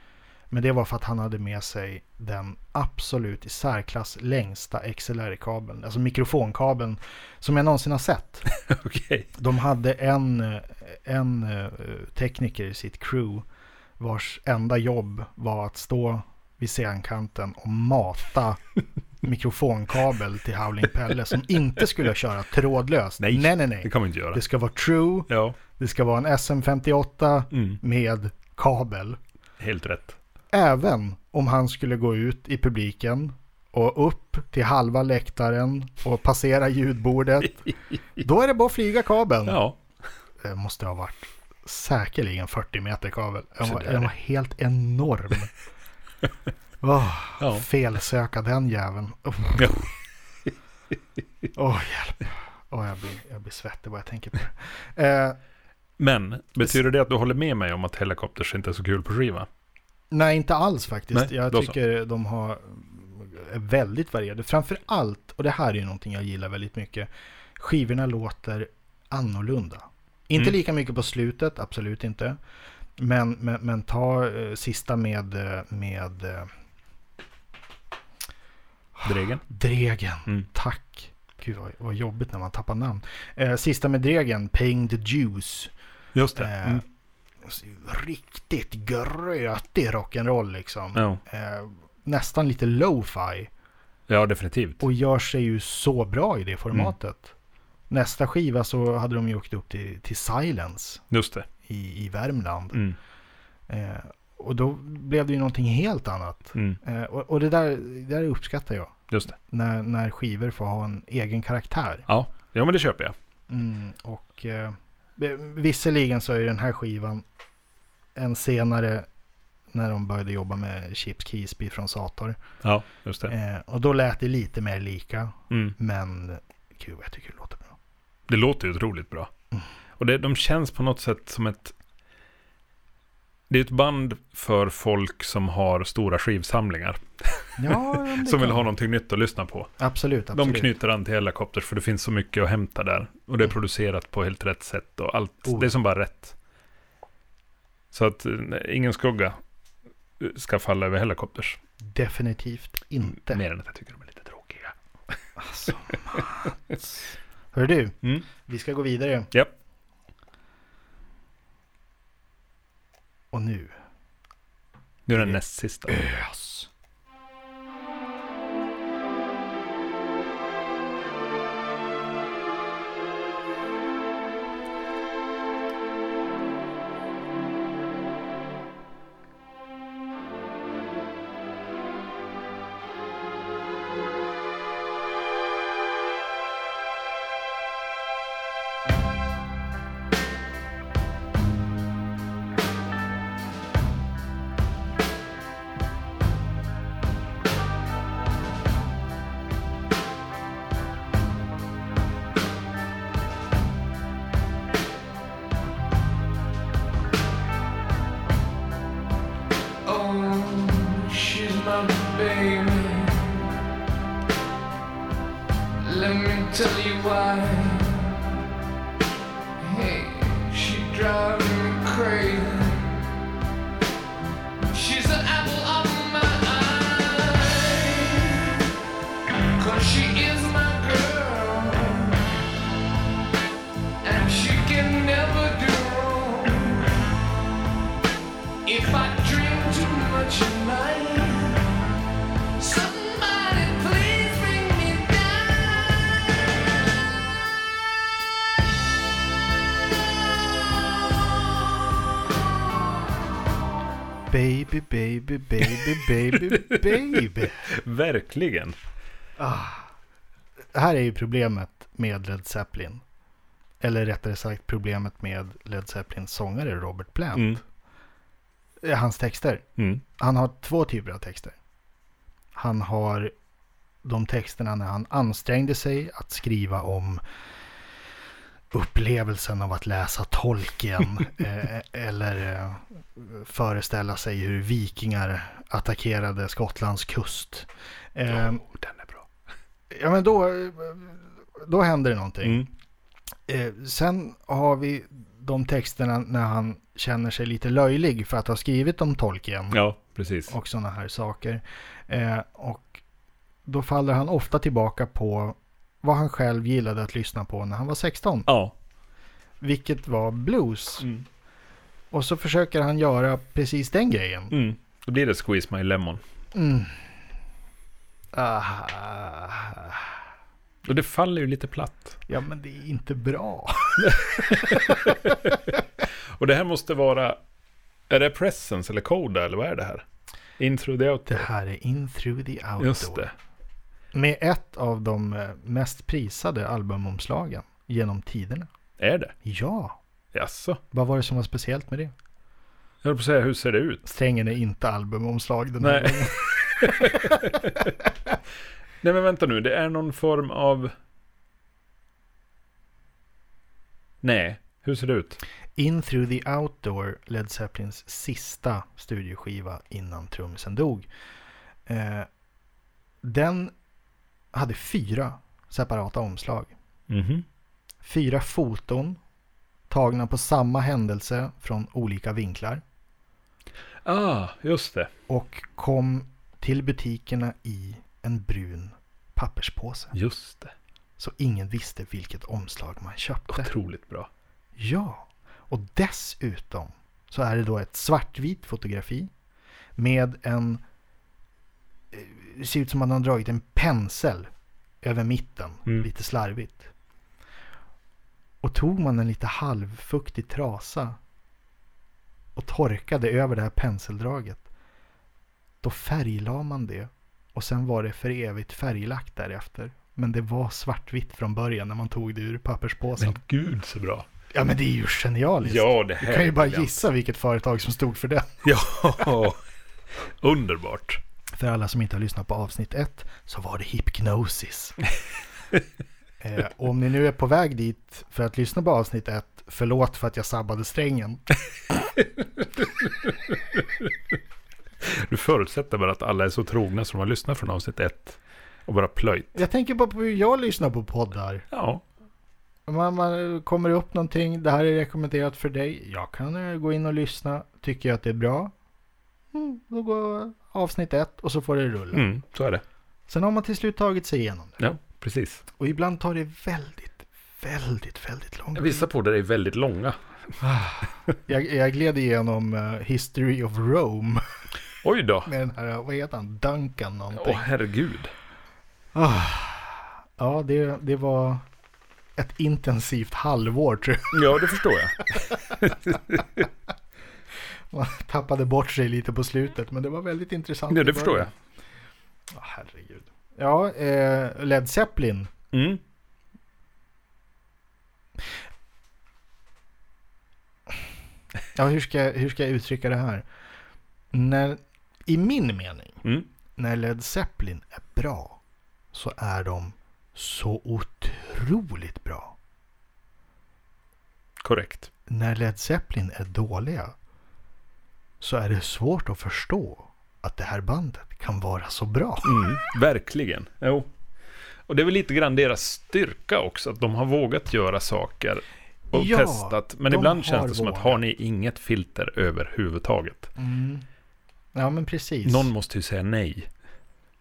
A: Men det var för att han hade med sig den absolut i särklass längsta XLR-kabeln. Alltså mikrofonkabeln som jag någonsin har sett.
B: Okej.
A: De hade en, eh, en eh, tekniker i sitt crew vars enda jobb var att stå vid scenkanten och mata mikrofonkabel till Howling Pelle som inte skulle köra trådlöst.
B: Nej,
A: nej, nej.
B: Det
A: nej.
B: kan man inte göra.
A: Det ska vara true,
B: Ja,
A: det ska vara en SM58
B: mm,
A: med kabel.
B: helt rätt.
A: Mm. Även om han skulle gå ut i publiken och upp till halva läktaren och passera ljudbordet. Då är det bara att flyga kabeln.
B: Ja,
A: Det måste ha varit säkerligen 40 meter kabel. Den var,
B: Sådär.
A: den var helt
B: (laughs)
A: enorm. Åh,
B: ja.
A: Felsöka den jäveln. Åh,
B: Ja.
A: Åh, hjälp. Åh, jag, blir, jag blir svettig bara jag tänker på det. Eh,
B: Men betyder det att du håller med mig om att Helicopters inte är så kul på skiva?
A: Nej, inte alls faktiskt.
B: Nej,
A: jag
B: då så.
A: tycker de har är väldigt varierade. Framför allt, och det här är ju någonting jag gillar väldigt mycket, skivorna låter annorlunda. Inte
B: Mm.
A: lika mycket på slutet, absolut inte. Men, men, men ta eh, sista med, eh, med eh,
B: Dregen?
A: Dregen.
B: Mm.
A: Tack. Gud vad, vad jobbigt när man tappar namn. Eh, sista med Dregen, Paying the Juice.
B: Just det.
A: Eh,
B: Mm.
A: Riktigt grötig rock'n'roll liksom.
B: Ja.
A: eh, nästan lite lo-fi
B: ja, definitivt.
A: och gör sig ju så bra i det formatet. Nästa skiva så hade de ju åkt upp till, till Silence
B: Just det.
A: i, i Värmland.
B: Mm.
A: Eh, och då blev det ju någonting helt annat.
B: Mm.
A: Eh, och och det, där, det där uppskattar jag.
B: Just det.
A: När, när skivor får ha en egen karaktär.
B: Ja. ja, men det köper jag.
A: Mm, och eh, visserligen så är ju den här skivan en senare när de började jobba med Chips Keesby från Sator.
B: Ja, just det.
A: Eh, och då lät det lite mer lika.
B: Mm.
A: Men gud vad jag tycker det låter bra.
B: Det låter ju otroligt bra.
A: Mm.
B: Och det, de känns på något sätt som ett... Det är ett band för folk som har stora skivsamlingar.
A: Ja,
B: Som vill ha någonting nytt att lyssna på.
A: Absolut, absolut. Mm.
B: De knyter an till Helicopters för det finns så mycket att hämta där. Och det är producerat på helt rätt sätt och allt.
A: Oh.
B: Det är som bara rätt. Så att eh, ingen skugga eh, ska falla över Helicopters.
A: Definitivt inte.
B: Mer än att jag tycker de är lite tråkiga.
A: Alltså, Mats. Hör du,
B: Mm.
A: vi ska gå vidare.
B: Japp.
A: Och nu.
B: Nu är den näst sista.
A: Ös.
C: Oh, she's my baby. Let me tell you why. Hey, she drives me crazy. She's the apple of my eye. Cause she is my girl. And she can never do wrong. If I dream too much at night, somebody please bring me
A: Baby, baby, baby, baby, baby.
B: Verkligen.
A: Det här är ju problemet med Led Zeppelin. Eller rättare sagt problemet med Led Zeppelins sångare Robert Plant.
B: Mm.
A: Eh, Hans texter.
B: Mm.
A: Han har två typer av texter. Han har de texterna när han ansträngde sig att skriva om upplevelsen av att läsa
B: (laughs)
A: Tolkien eh, eller eh, föreställa sig hur vikingar attackerade Skottlands kust. Eh,
B: Åh, den är bra.
A: ja, men då, då händer det någonting.
B: Mm.
A: Eh, sen har vi de texterna när han känner sig lite löjlig för att ha skrivit om Tolkien
B: Ja, precis.
A: och sådana här saker. Eh, och då faller han ofta tillbaka på vad han själv gillade att lyssna på när han var 16,
B: Ja.
A: vilket var blues.
B: Mm.
A: Och så försöker han göra precis den grejen.
B: Mm. Då blir det Squeeze My Lemon.
A: Mm. Ah,
B: Och det faller ju lite platt.
A: ja, men det är inte bra.
B: Och det här måste vara... Är det Presence eller Coda eller vad är det här? In through the
A: Det
B: outdoor.
A: här är In through the outdoor.
B: Just det.
A: Med ett av de eh, mest prisade albumomslagen genom tiderna.
B: Är det?
A: Ja,
B: Jaså?
A: vad var det som var speciellt med det?
B: Jag höll på att säga, hur ser det ut?
A: Strängen är inte albumomslag den här
B: Nej.
A: gången.
B: Nej men vänta nu, det är någon form av... Nej, hur ser det ut?
A: In through the outdoor, Led Zeppelins sista studioskiva innan trummisen dog. Eh, den hade fyra separata omslag.
B: Mhm.
A: Fyra foton tagna på samma händelse från olika vinklar.
B: Ah, just det.
A: och kom till butikerna i en brun papperspåse.
B: Just det.
A: Så ingen visste vilket omslag man köpte.
B: Otroligt bra.
A: Ja, och dessutom så är det då ett svartvitt fotografi med en... eh, Det ser ut som att man har dragit en pensel över mitten,
B: Mm.
A: lite slarvigt. Och tog man en lite halvfuktig trasa och torkade över det här penseldraget, då färglade man det och sen var det för evigt färglagt därefter. Men det var svartvitt från början när man tog det ur papperspåsen.
B: Men gud så bra.
A: Ja men det är ju genialiskt.
B: Ja,
A: du
B: det här
A: kan ju
B: är
A: bara
B: briljant.
A: gissa vilket företag som stod för det.
B: Ja, underbart.
A: För alla som inte har lyssnat på avsnitt ett så var det
B: (laughs)
A: Hypnosis. eh, och om ni nu är på väg dit för att lyssna på avsnitt ett, förlåt för att jag sabbade strängen.
B: Du förutsätter bara att alla är så trogna som har lyssnat från avsnitt ett och bara plöjt.
A: Jag tänker bara på hur jag lyssnar på poddar.
B: Ja,
A: Man, man kommer upp någonting, det här är rekommenderat för dig. Jag kan eh, gå in och lyssna, tycker jag att det är bra. Mm, då går avsnitt ett och så får det rulla.
B: mm, så är det.
A: Sen har man till slut tagit sig igenom det.
B: Ja, precis.
A: Och ibland tar det väldigt, väldigt, väldigt lång tid.
B: Vissa poddar är väldigt långa.
A: Jag, jag gled igenom eh, History of Rome (laughs)
B: Oj då.
A: med den här, vad heter han, Duncan
B: Åh,
A: någonting. Ah.
B: herregud.
A: Ja, det, det var ett intensivt halvår tror jag. (laughs)
B: Ja, det förstår jag.
A: Man tappade bort sig lite på slutet, men det var väldigt intressant.
B: Ja,
A: i
B: det förstår jag.
A: början. Ja, herregud. Ja, eh, Led Zeppelin.
B: Mm.
A: Ja, hur ska, hur ska jag uttrycka det här? När, I min mening,
B: Mm.
A: när Led Zeppelin är bra så är de så otroligt bra.
B: Korrekt.
A: när Led Zeppelin är dåliga så är det svårt att förstå att det här bandet kan vara så bra.
B: Mm, verkligen. Jo. Och det är väl lite grann deras styrka också, att de har vågat göra saker och
A: Ja,
B: testat. Men
A: de
B: ibland känns det
A: har
B: som att
A: vågat.
B: har ni inget filter överhuvudtaget?
A: Ja, men precis.
B: Någon måste ju säga nej.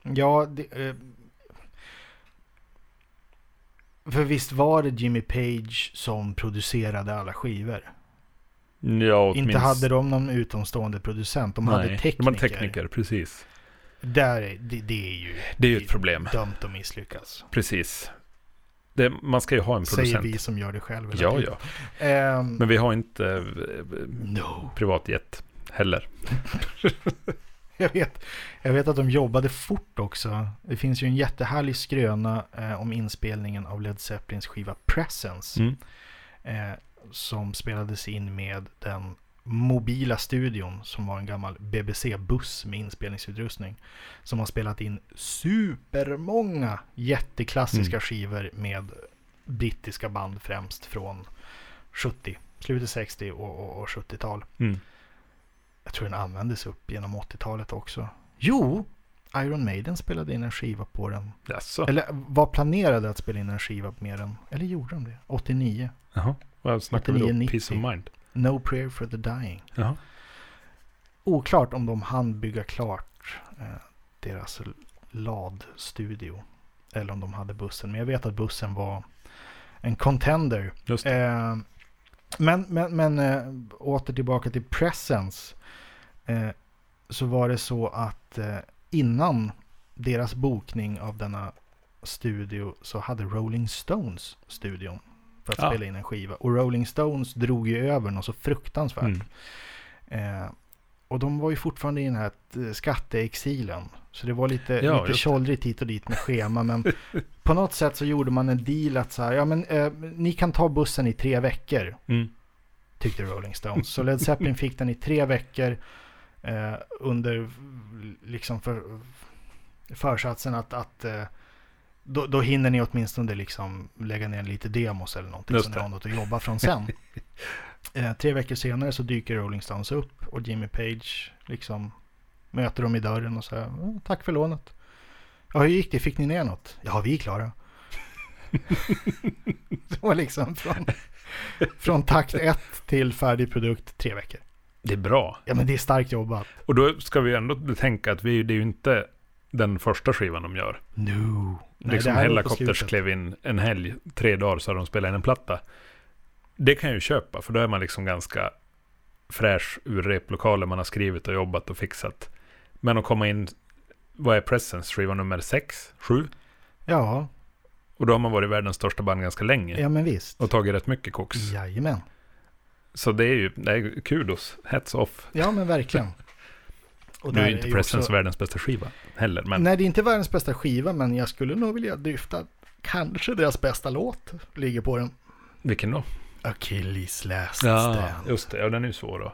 A: Ja, det, eh... För visst var det Jimmy Page som producerade alla skivor?
B: Ja,
A: Inte hade de någon utomstående producent, de hade tekniker.
B: De hade tekniker, precis.
A: Där, är- det, det är ju
B: Det är ju ett problem.
A: dömt att
B: (laughs)
A: misslyckas.
B: Precis. Det, man ska ju ha en
A: Säger
B: producent.
A: vi som gör det själva.
B: Ja, ja.
A: Ehm,
B: Men vi har inte eh,
A: no. (laughs)
B: privatjet heller.
A: Jag vet, jag vet att de jobbade fort också. Det finns ju en jättehärlig skröna eh, om inspelningen av Led Zeppelins skiva Presence.
B: Mm.
A: Eh, som spelades in med den mobila studion som var en gammal BBC-buss med inspelningsutrustning. Som har spelat in supermånga jätteklassiska skivor med brittiska band främst från 70, slutet 60 och, och, och 70-tal.
B: Mm.
A: Jag tror den användes upp genom 80-talet också. Jo, Iron Maiden spelade in en skiva på den.
B: Jaså?
A: Eller var planerade att spela in en skiva med den. Eller gjorde de det? 89.
B: Jaha. Vad snackar vi då?
A: 89,
B: Peace of
A: 90.
B: mind?
A: No prayer for the dying.
B: Jaha.
A: Oklart om de hann bygga klart eh, deras l- LAD-studio. Eller om de hade bussen. Men jag vet att bussen var en contender.
B: Just det.
A: Eh, men men, men eh, åter tillbaka till Presence. Eh, så var det så att eh, innan deras bokning av denna studio så hade Rolling Stones studion för att
B: Ja.
A: spela in en skiva. Och Rolling Stones drog ju över något så fruktansvärt.
B: Mm.
A: Eh, och de var ju fortfarande i den här eh, skatteexilen. Så det var lite,
B: Ja, just det.
A: lite tjollrigt hit och dit med schema. Men på något sätt så gjorde man en deal att så här, ja men eh, ni kan ta bussen i tre veckor,
B: Mm.
A: tyckte Rolling Stones. Så Led Zeppelin fick den i tre veckor eh, under liksom för, försatsen att, att eh, då, då hinner ni åtminstone liksom lägga ner lite demos eller någonting
B: Just
A: som ni
B: det.
A: har något att jobba från
B: (laughs)
A: sen. eh, tre veckor senare så dyker Rolling Stones upp och Jimmy Page liksom möter dem i dörren och säger "Ja, tack för lånet. Ja, hur gick det? Fick ni ner något? Ja, vi är
B: (laughs)
A: klara. (laughs) det var liksom från, från takt ett till färdig produkt tre veckor.
B: Det är bra.
A: Ja, men det är starkt jobbat.
B: Och då ska vi ändå betänka att vi, det är ju inte den första skivan de gör.
A: No. Nej,
B: liksom
A: det här var på
B: Hellacopters
A: slutet.
B: klev in en helg, tre dagar så hade de spelat in en platta. Det kan jag ju köpa, för då är man liksom ganska fräsch ur replokalen man har skrivit och jobbat och fixat. Men att komma in, vad är Presence, skiva nummer sex, sju?
A: Ja,
B: Och då har man varit världens största band ganska länge
A: ja men visst.
B: och tagit rätt mycket koks.
A: Jajamän.
B: Så det är ju, det är kudos, hats off.
A: Ja, men
B: (laughs)
A: verkligen. Och
B: nu
A: där
B: är ju inte
A: ju
B: Presence
A: också-
B: världens bästa skiva heller, men
A: Nej, det är inte världens bästa skiva, men jag skulle nog vilja dryfta att kanske deras bästa låt ligger på den.
B: vilken då?
A: Achilles last stand.
B: just det. Ja, den är ju svår då.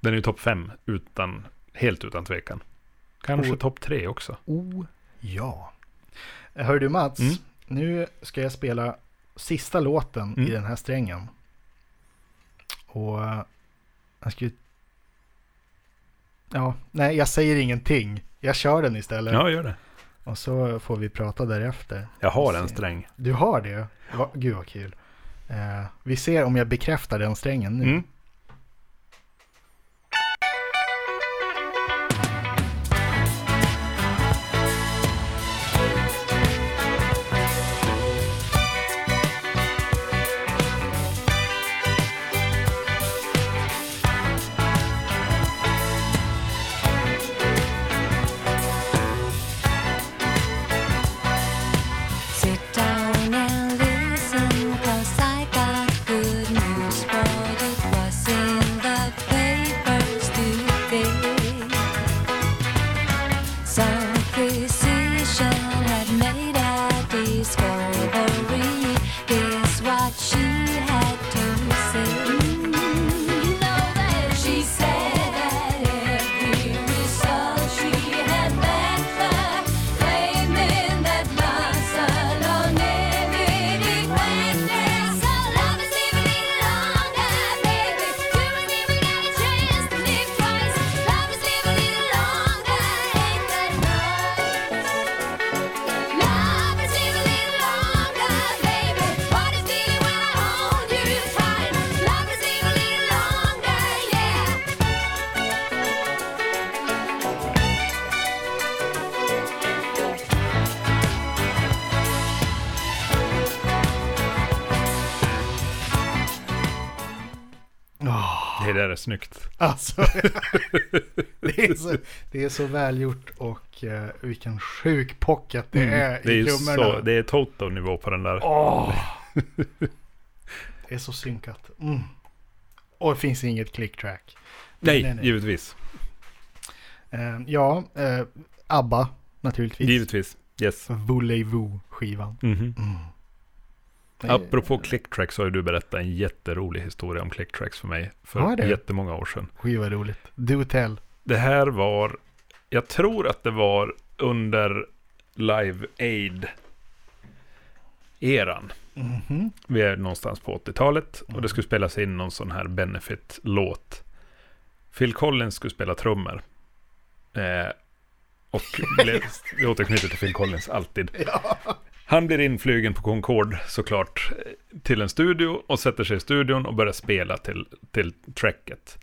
B: Den är ju topp fem, utan, helt utan tvekan. Kanske
A: Och-
B: topp tre också.
A: Oh, ja. Hör du Mats,
B: Mm.
A: nu ska jag spela sista låten
B: Mm.
A: i den här strängen. Och eh, jag ska ju... Ja, nej, jag säger ingenting. Jag kör den istället.
B: Ja, gör det.
A: Och så får vi prata därefter.
B: Jag har
A: Vi
B: en
A: ser.
B: sträng.
A: Du har det? Va, gud vad kul. Eh, vi ser om jag bekräftar den strängen nu.
B: Mm.
F: Sit down and listen, cause I got good news for you. What's in the papers today? Some physician had made a discovery. Is what she had to say. You know that she said that every result she had backfired, claiming that muscle on every weakness. So love is living in longer, baby. You will never get a chance to live twice. Love is living in longer, ain't that nice? Love is living longer, baby. What is feeling when I hold you tight? Love is living longer, yeah.
B: Det där är snyggt.
A: Alltså, (laughs) det, är så, det är så välgjort och eh, vilken sjuk pocket det är
B: Mm, Det är
A: i
B: ju
A: trummorna.
B: så, det är Toto-nivå på den där.
A: Åh! det är så synkat. Mm. Och det finns inget clicktrack.
B: nej,
A: nej, nej.
B: givetvis.
A: Eh, ja, eh, ABBA naturligtvis.
B: Givetvis. Yes.
A: Mm. Voulez-vous-skivan.
B: Mhm. Apropå clicktrack så har ju du berättat en jätterolig historia om clicktracks för mig för
A: Har jag det?
B: jättemånga år sedan.
A: Oj, vad roligt. Do tell.
B: Det här var, jag tror att det var under Live Aid-eran.
A: Mhm.
B: Vi är någonstans på 80-talet och det skulle spelas in någon sån här benefit-låt. Phil Collins skulle spela trummor. Eh, och blev, vi återknyter till Phil Collins alltid. Han blir inflygen på Concorde såklart eh, till en studio och sätter sig i studion och börjar spela till, till tracket.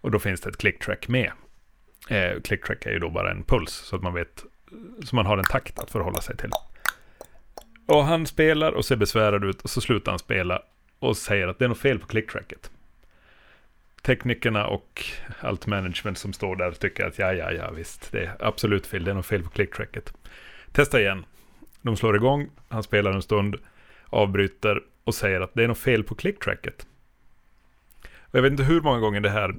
B: Och då finns det ett clicktrack med. Eh, clicktrack är ju då bara en puls så att man vet, så man har en takt att förhålla sig till. Och han spelar och ser besvärad ut och så slutar han spela och säger att det är något fel på clicktracket. Teknikerna och allt management som står där tycker att ja, ja, ja, visst, det är absolut fel, det är något fel på clicktracket. Testa igen. De slår igång, han spelar en stund, avbryter och säger att det är något fel på clicktracket. Och jag vet inte hur många gånger det här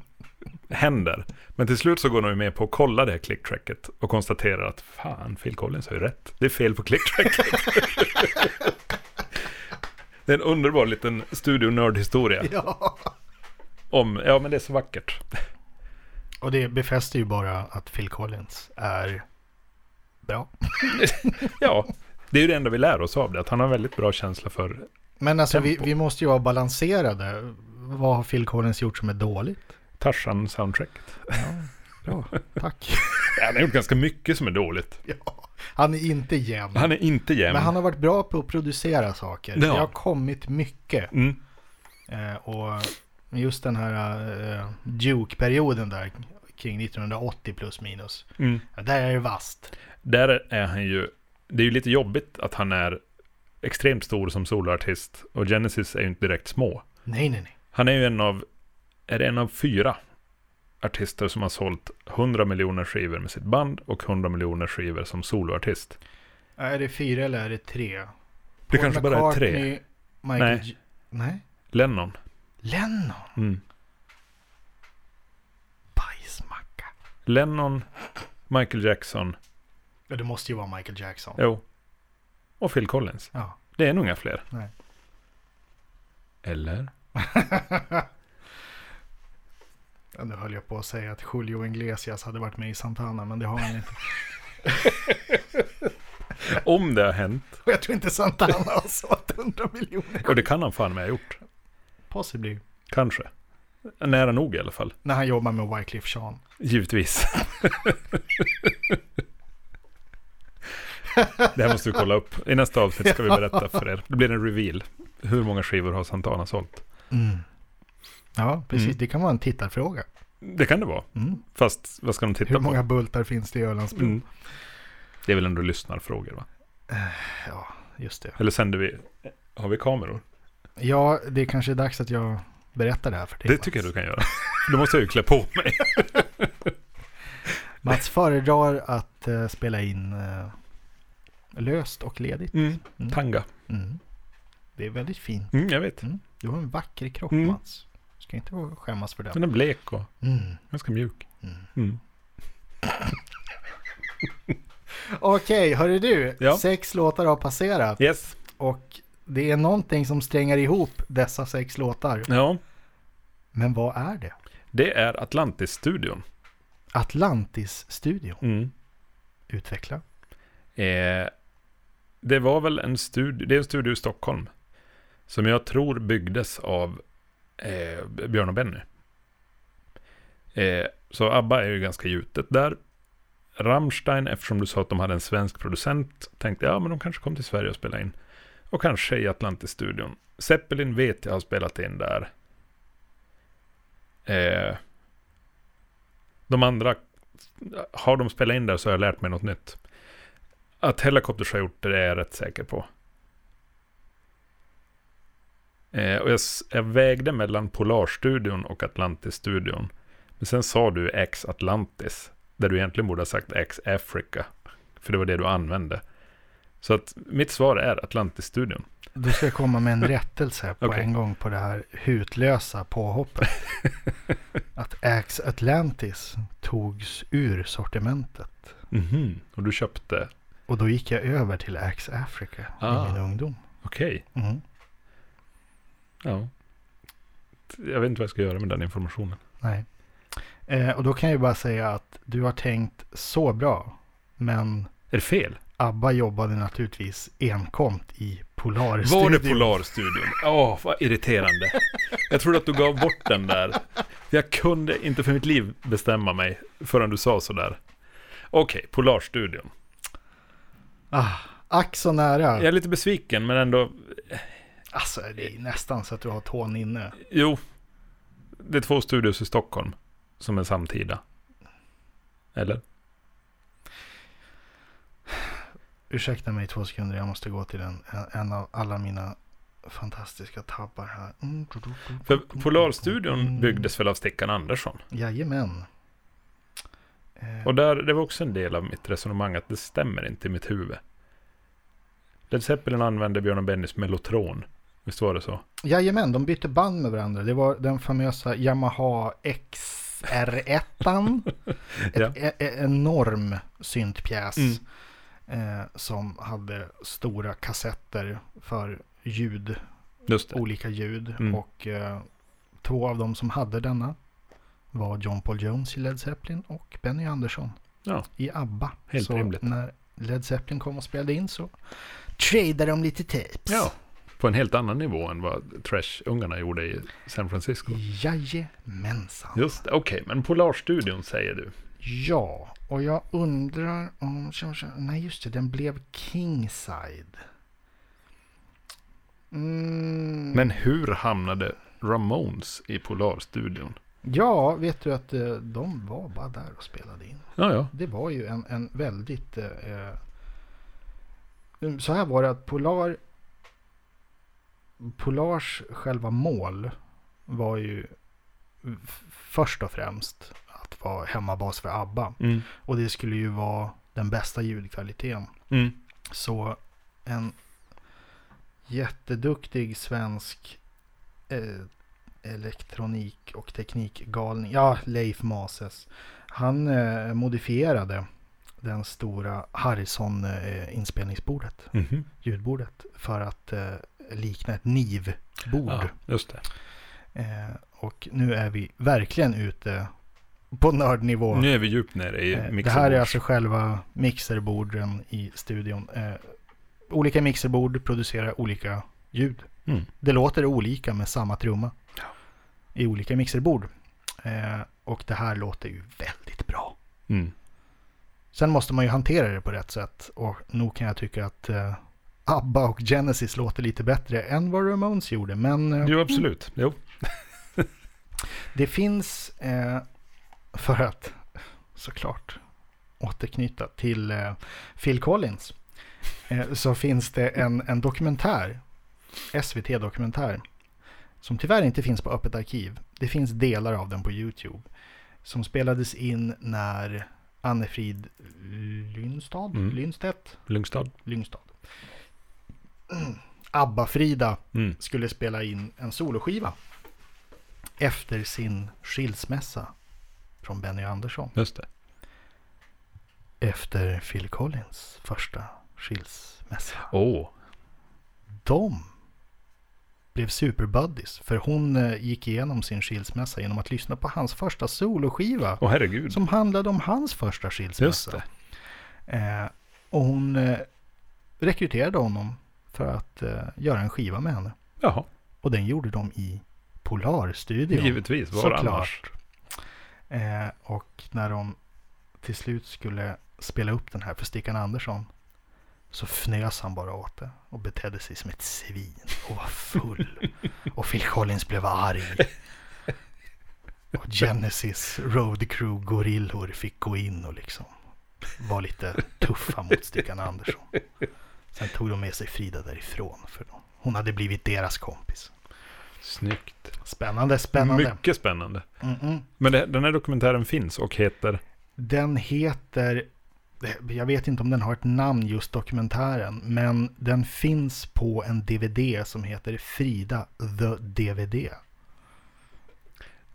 B: händer, men till slut så går de ju med på att kolla det här clicktracket och konstaterar att fan, Phil Collins har ju rätt, det är fel på clicktracket. det är en underbar liten studionördhistoria
A: Ja.
B: om, ja men det är så vackert.
A: Och det befäster ju bara att Phil Collins är bra.
B: Ja, det är ju det enda vi lär oss av det, att han har väldigt bra känsla för
A: Men alltså vi,
B: Tempo.
A: vi måste ju vara balanserade. Vad har Phil Collins gjort som är dåligt?
B: Tarzan-soundtracket.
A: Bra,
B: (laughs)
A: tack.
B: Ja, han har gjort ganska mycket som är dåligt.
A: ja. Han är inte jämn.
B: Han är inte jämn.
A: Men han har varit bra på att producera saker.
B: Ja.
A: Det har kommit mycket.
B: Mm.
A: Eh, och just den här eh, Duke-perioden där kring 1980 plus minus.
B: Mm.
A: Ja, Där är det vasst.
B: Där är han ju, det är ju lite jobbigt att han är extremt stor som soloartist och Genesis är ju inte direkt små.
A: Nej, nej, nej.
B: Han är ju en av, är det en av fyra artister som har sålt 100 miljoner skivor med sitt band och 100 miljoner skivor som soloartist.
A: Är det fyra eller är det tre? Det
B: Det kanske bara är tre.
A: Michael
B: Nej.
A: nej. nej.
B: Lennon.
A: Lennon.
B: Mm.
A: Bajsmacka.
B: Lennon, Michael Jackson,
A: Ja, det måste ju vara Michael Jackson.
B: jo. Och Phil Collins.
A: Ja.
B: Det är nog inga fler.
A: Nej.
B: Eller?
A: Ja, Nu höll jag på att säga att Julio Iglesias hade varit med i Santana, men det har han inte. (laughs)
B: Om det har hänt.
A: Och jag tror inte Santana har sålt 100 miljoner.
B: Och det kan han fan med ha gjort.
A: Possibly.
B: Kanske. Nära nog i alla fall.
A: När han jobbar med Wycliffe Jean.
B: Givetvis. (laughs) Det här måste vi kolla upp. I nästa avsnitt ska vi berätta för er. Det blir en reveal. Hur många skivor har Santana sålt?
A: Ja, precis.
B: Mm.
A: Det kan vara en tittarfråga.
B: Det kan det vara.
A: Mm.
B: Fast vad ska de titta
A: Hur många
B: på?
A: bultar finns det i Ölandsbron?
B: Mm. Det är väl ändå lyssnarfrågor va?
A: Ja, just det.
B: Eller sänder vi... Har vi kameror?
A: Ja, det är kanske är dags att jag berättar det här för dig.
B: Det tycker jag du kan göra. (laughs) Då måste jag ju klä på mig.
A: Mats föredrar att eh, spela in eh, löst och ledigt. Mm.
B: Tanga.
A: Mm. Det är väldigt fint.
B: Mm, jag vet.
A: Mm. Du har en vacker kropp,
B: Mm.
A: Mats. Ska inte vara- skämmas för den.
B: Den är blek och
A: Mm.
B: ganska mjuk.
A: Mm.
B: Mm.
A: Okej, hörru du.
B: Ja.
A: Sex låtar har passerat.
B: Yes.
A: Och det är någonting som strängar ihop dessa sex låtar.
B: Ja.
A: Men vad är det?
B: Det är Atlantis-studion.
A: Atlantis-studion.
B: Mm.
A: Utveckla.
B: Eh, det var väl en studio, det är en studio i Stockholm. Som jag tror byggdes av eh, Björn och Benny. Eh, så ABBA är ju ganska gjutet där. Rammstein, eftersom du sa att de hade en svensk producent, tänkte jag ja, men de kanske kom till Sverige och spelade in. Och kanske i Atlantis-studion. Zeppelin vet jag har spelat in där. Eh, de andra, har de spelat in där så har jag lärt mig något nytt. Att Helicopters har gjort det, det är jag rätt säker på. Eh, och jag, s- jag vägde mellan Polarstudion och Atlantis-studion. Men sen sa du X Atlantis, där du egentligen borde ha sagt X Africa. För det var det du använde. Så att mitt svar är Atlantis-studion.
A: Du ska jag komma
B: (laughs)
A: med en rättelse på
B: Okej.
A: en gång på det här hutlösa
B: (laughs)
A: påhoppet. Att Axe Atlantis togs ur sortimentet.
B: Och du köpte,
A: Och då gick jag över till Axe Africa i
B: Ah.
A: min ungdom.
B: okej,
A: Mm.
B: Ja. Jag vet inte vad jag ska göra med den informationen.
A: Nej. Eh, och då kan jag ju bara säga att du har tänkt så bra. Men
B: Är det fel?
A: ABBA jobbade naturligtvis enkomt i Polarstudion.
B: Var det (laughs) Polarstudion? Åh, vad irriterande. Jag trodde att du gav bort den där. Jag kunde inte för mitt liv bestämma mig förrän du sa sådär. Okej, Polarstudion.
A: Ah, ack så nära.
B: Jag är lite besviken, men ändå...
A: Alltså det är nästan så att du har tån inne.
B: Jo, det är två studios i Stockholm som är samtida. Eller?
A: Ursäkta mig två sekunder, jag måste gå till en, en av alla mina fantastiska tabbar här. Mm.
B: För Polarstudion byggdes väl av Stickan Andersson?
A: Mm, Jajamän. Eh,
B: Och där, det var också en del av mitt resonemang att det stämmer inte i mitt huvud. Led Zeppelin använde Björn och Bennys Mellotron. Visst var det så?
A: jajamän, de bytte band med varandra. Det var den famösa Yamaha
B: (laughs)
A: XR1. Ett,
B: Ja.
A: e- e- enorm syntpjäs.
B: Mm.
A: Eh, som hade stora kassetter för ljud
B: Just det.
A: olika ljud.
B: Mm.
A: Och eh, två av dem som hade denna var John Paul Jones i Led Zeppelin och Benny Andersson
B: Ja.
A: i ABBA.
B: Helt
A: så
B: rimligt.
A: när Led Zeppelin kom och spelade in så tradeade de lite tapes.
B: Ja. På en helt annan nivå än vad Trash-ungarna gjorde i San Francisco.
A: Jajamensan.
B: Just det, okej, men Polarstudion säger du.
A: Mm. Ja, och jag undrar om... tja, tja, Nej, just det, den blev Kingside. Mm.
B: Men hur hamnade Ramones i Polarstudion?
A: Ja, vet du att eh, de var bara där och spelade in.
B: Ja, ja.
A: Det var ju en, en väldigt... eh, Eh, så här var det att Polar... Polars själva mål var ju f- först och främst att vara hemmabas för ABBA.
B: Mm.
A: Och det skulle ju vara den bästa ljudkvaliteten.
B: Mm.
A: Så en jätteduktig svensk eh, elektronik och teknikgalning, ja Leif Mases, han eh, modifierade den stora Harrison-inspelningsbordet,
B: Mhm.
A: ljudbordet, för att eh, likna ett nivbord.
B: Ja, just det.
A: Eh, och nu är vi verkligen ute på nördnivå.
B: Nu är vi djupt nere i
A: Eh,
B: mixerbords.
A: Det här är alltså själva mixerborden i studion. Eh, olika mixerbord producerar olika ljud.
B: Mm.
A: Det låter olika med samma trumma i olika mixerbord. Eh, och det här låter ju väldigt bra.
B: Mm.
A: Sen måste man ju hantera det på rätt sätt. Och nog kan jag tycka att eh, ABBA och Genesis låter lite bättre än vad Ramones gjorde. Men eh,
B: Jo, absolut. Jo.
A: det finns, eh, för att såklart återknyta till eh, Phil Collins, eh, så finns det en, en dokumentär, SVT-dokumentär, som tyvärr inte finns på Öppet arkiv. Det finns delar av den på YouTube, som spelades in när Annefrid Lynstad,
B: Mm.
A: Lynstedt,
B: Lungstad.
A: Lyngstad, (clears throat) Abba-Frida
B: Mm.
A: skulle spela in en soloskiva efter sin skilsmässa från Benny Andersson.
B: Just det.
A: Efter Phil Collins första skilsmässa.
B: Åh. Oh.
A: De blev superbuddies för hon eh, gick igenom sin skilsmässa genom att lyssna på hans första soloskiva
B: herregud.
A: som handlade om hans första
B: Just
A: skilsmässa.
B: det.
A: Eh, och hon eh, rekryterade honom för att eh, göra en skiva med henne.
B: Jaha.
A: Och den gjorde de i Polarstudion.
B: Givetvis. Var
A: Såklart.
B: annars?
A: Eh, och när de till slut skulle spela upp den här för Stickan Andersson så fnös han bara åt det och betedde sig som ett svin och var full. och Phil Collins blev arg. Och Genesis Road Crew Gorillor fick gå in och liksom var lite tuffa mot Stickan Andersson. Sen tog de med sig Frida därifrån för då- hon hade blivit deras kompis.
B: Snyggt.
A: Spännande, spännande.
B: Mycket spännande.
A: Mm-mm.
B: Men det, den här dokumentären finns och heter...
A: Den heter, jag vet inte om den har ett namn just dokumentären, men den finns på en DVD som heter Frida the DVD.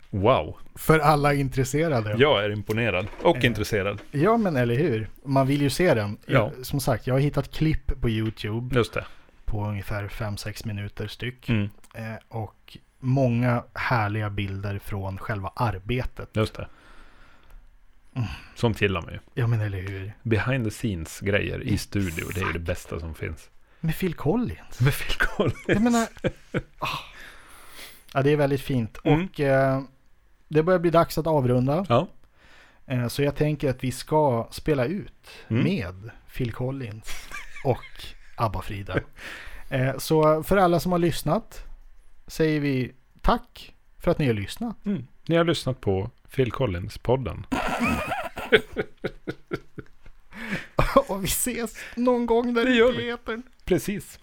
B: Wow.
A: För alla intresserade.
B: Jag är imponerad och intresserad.
A: Ja, men eller hur? Man vill ju se den.
B: Ja.
A: Som sagt, jag har hittat klipp på YouTube
B: Just det.
A: på ungefär 5-6 minuter styck.
B: Mm.
A: Eh, och många härliga bilder från själva arbetet.
B: Just det.
A: Mm.
B: Sånt gillar man ju.
A: Ja men eller hur.
B: Behind the scenes-grejer i studio, det är ju det bästa som finns.
A: Med Phil Collins.
B: Med Phil Collins.
A: Jag
B: (laughs)
A: menar... ah. Ja det är väldigt fint.
B: Mm.
A: Och eh, det börjar bli dags att avrunda.
B: Ja,
A: Eh, så jag tänker att vi ska spela ut
B: Mm.
A: med Phil Collins och Abba-Frida. Eh, så för alla som har lyssnat säger vi tack för att ni har lyssnat.
B: mm. ni har lyssnat på Phil Collins-podden.
A: (laughs) och vi ses någon gång där
B: Det gör
A: ute i
B: vi.
A: etern.
B: Precis.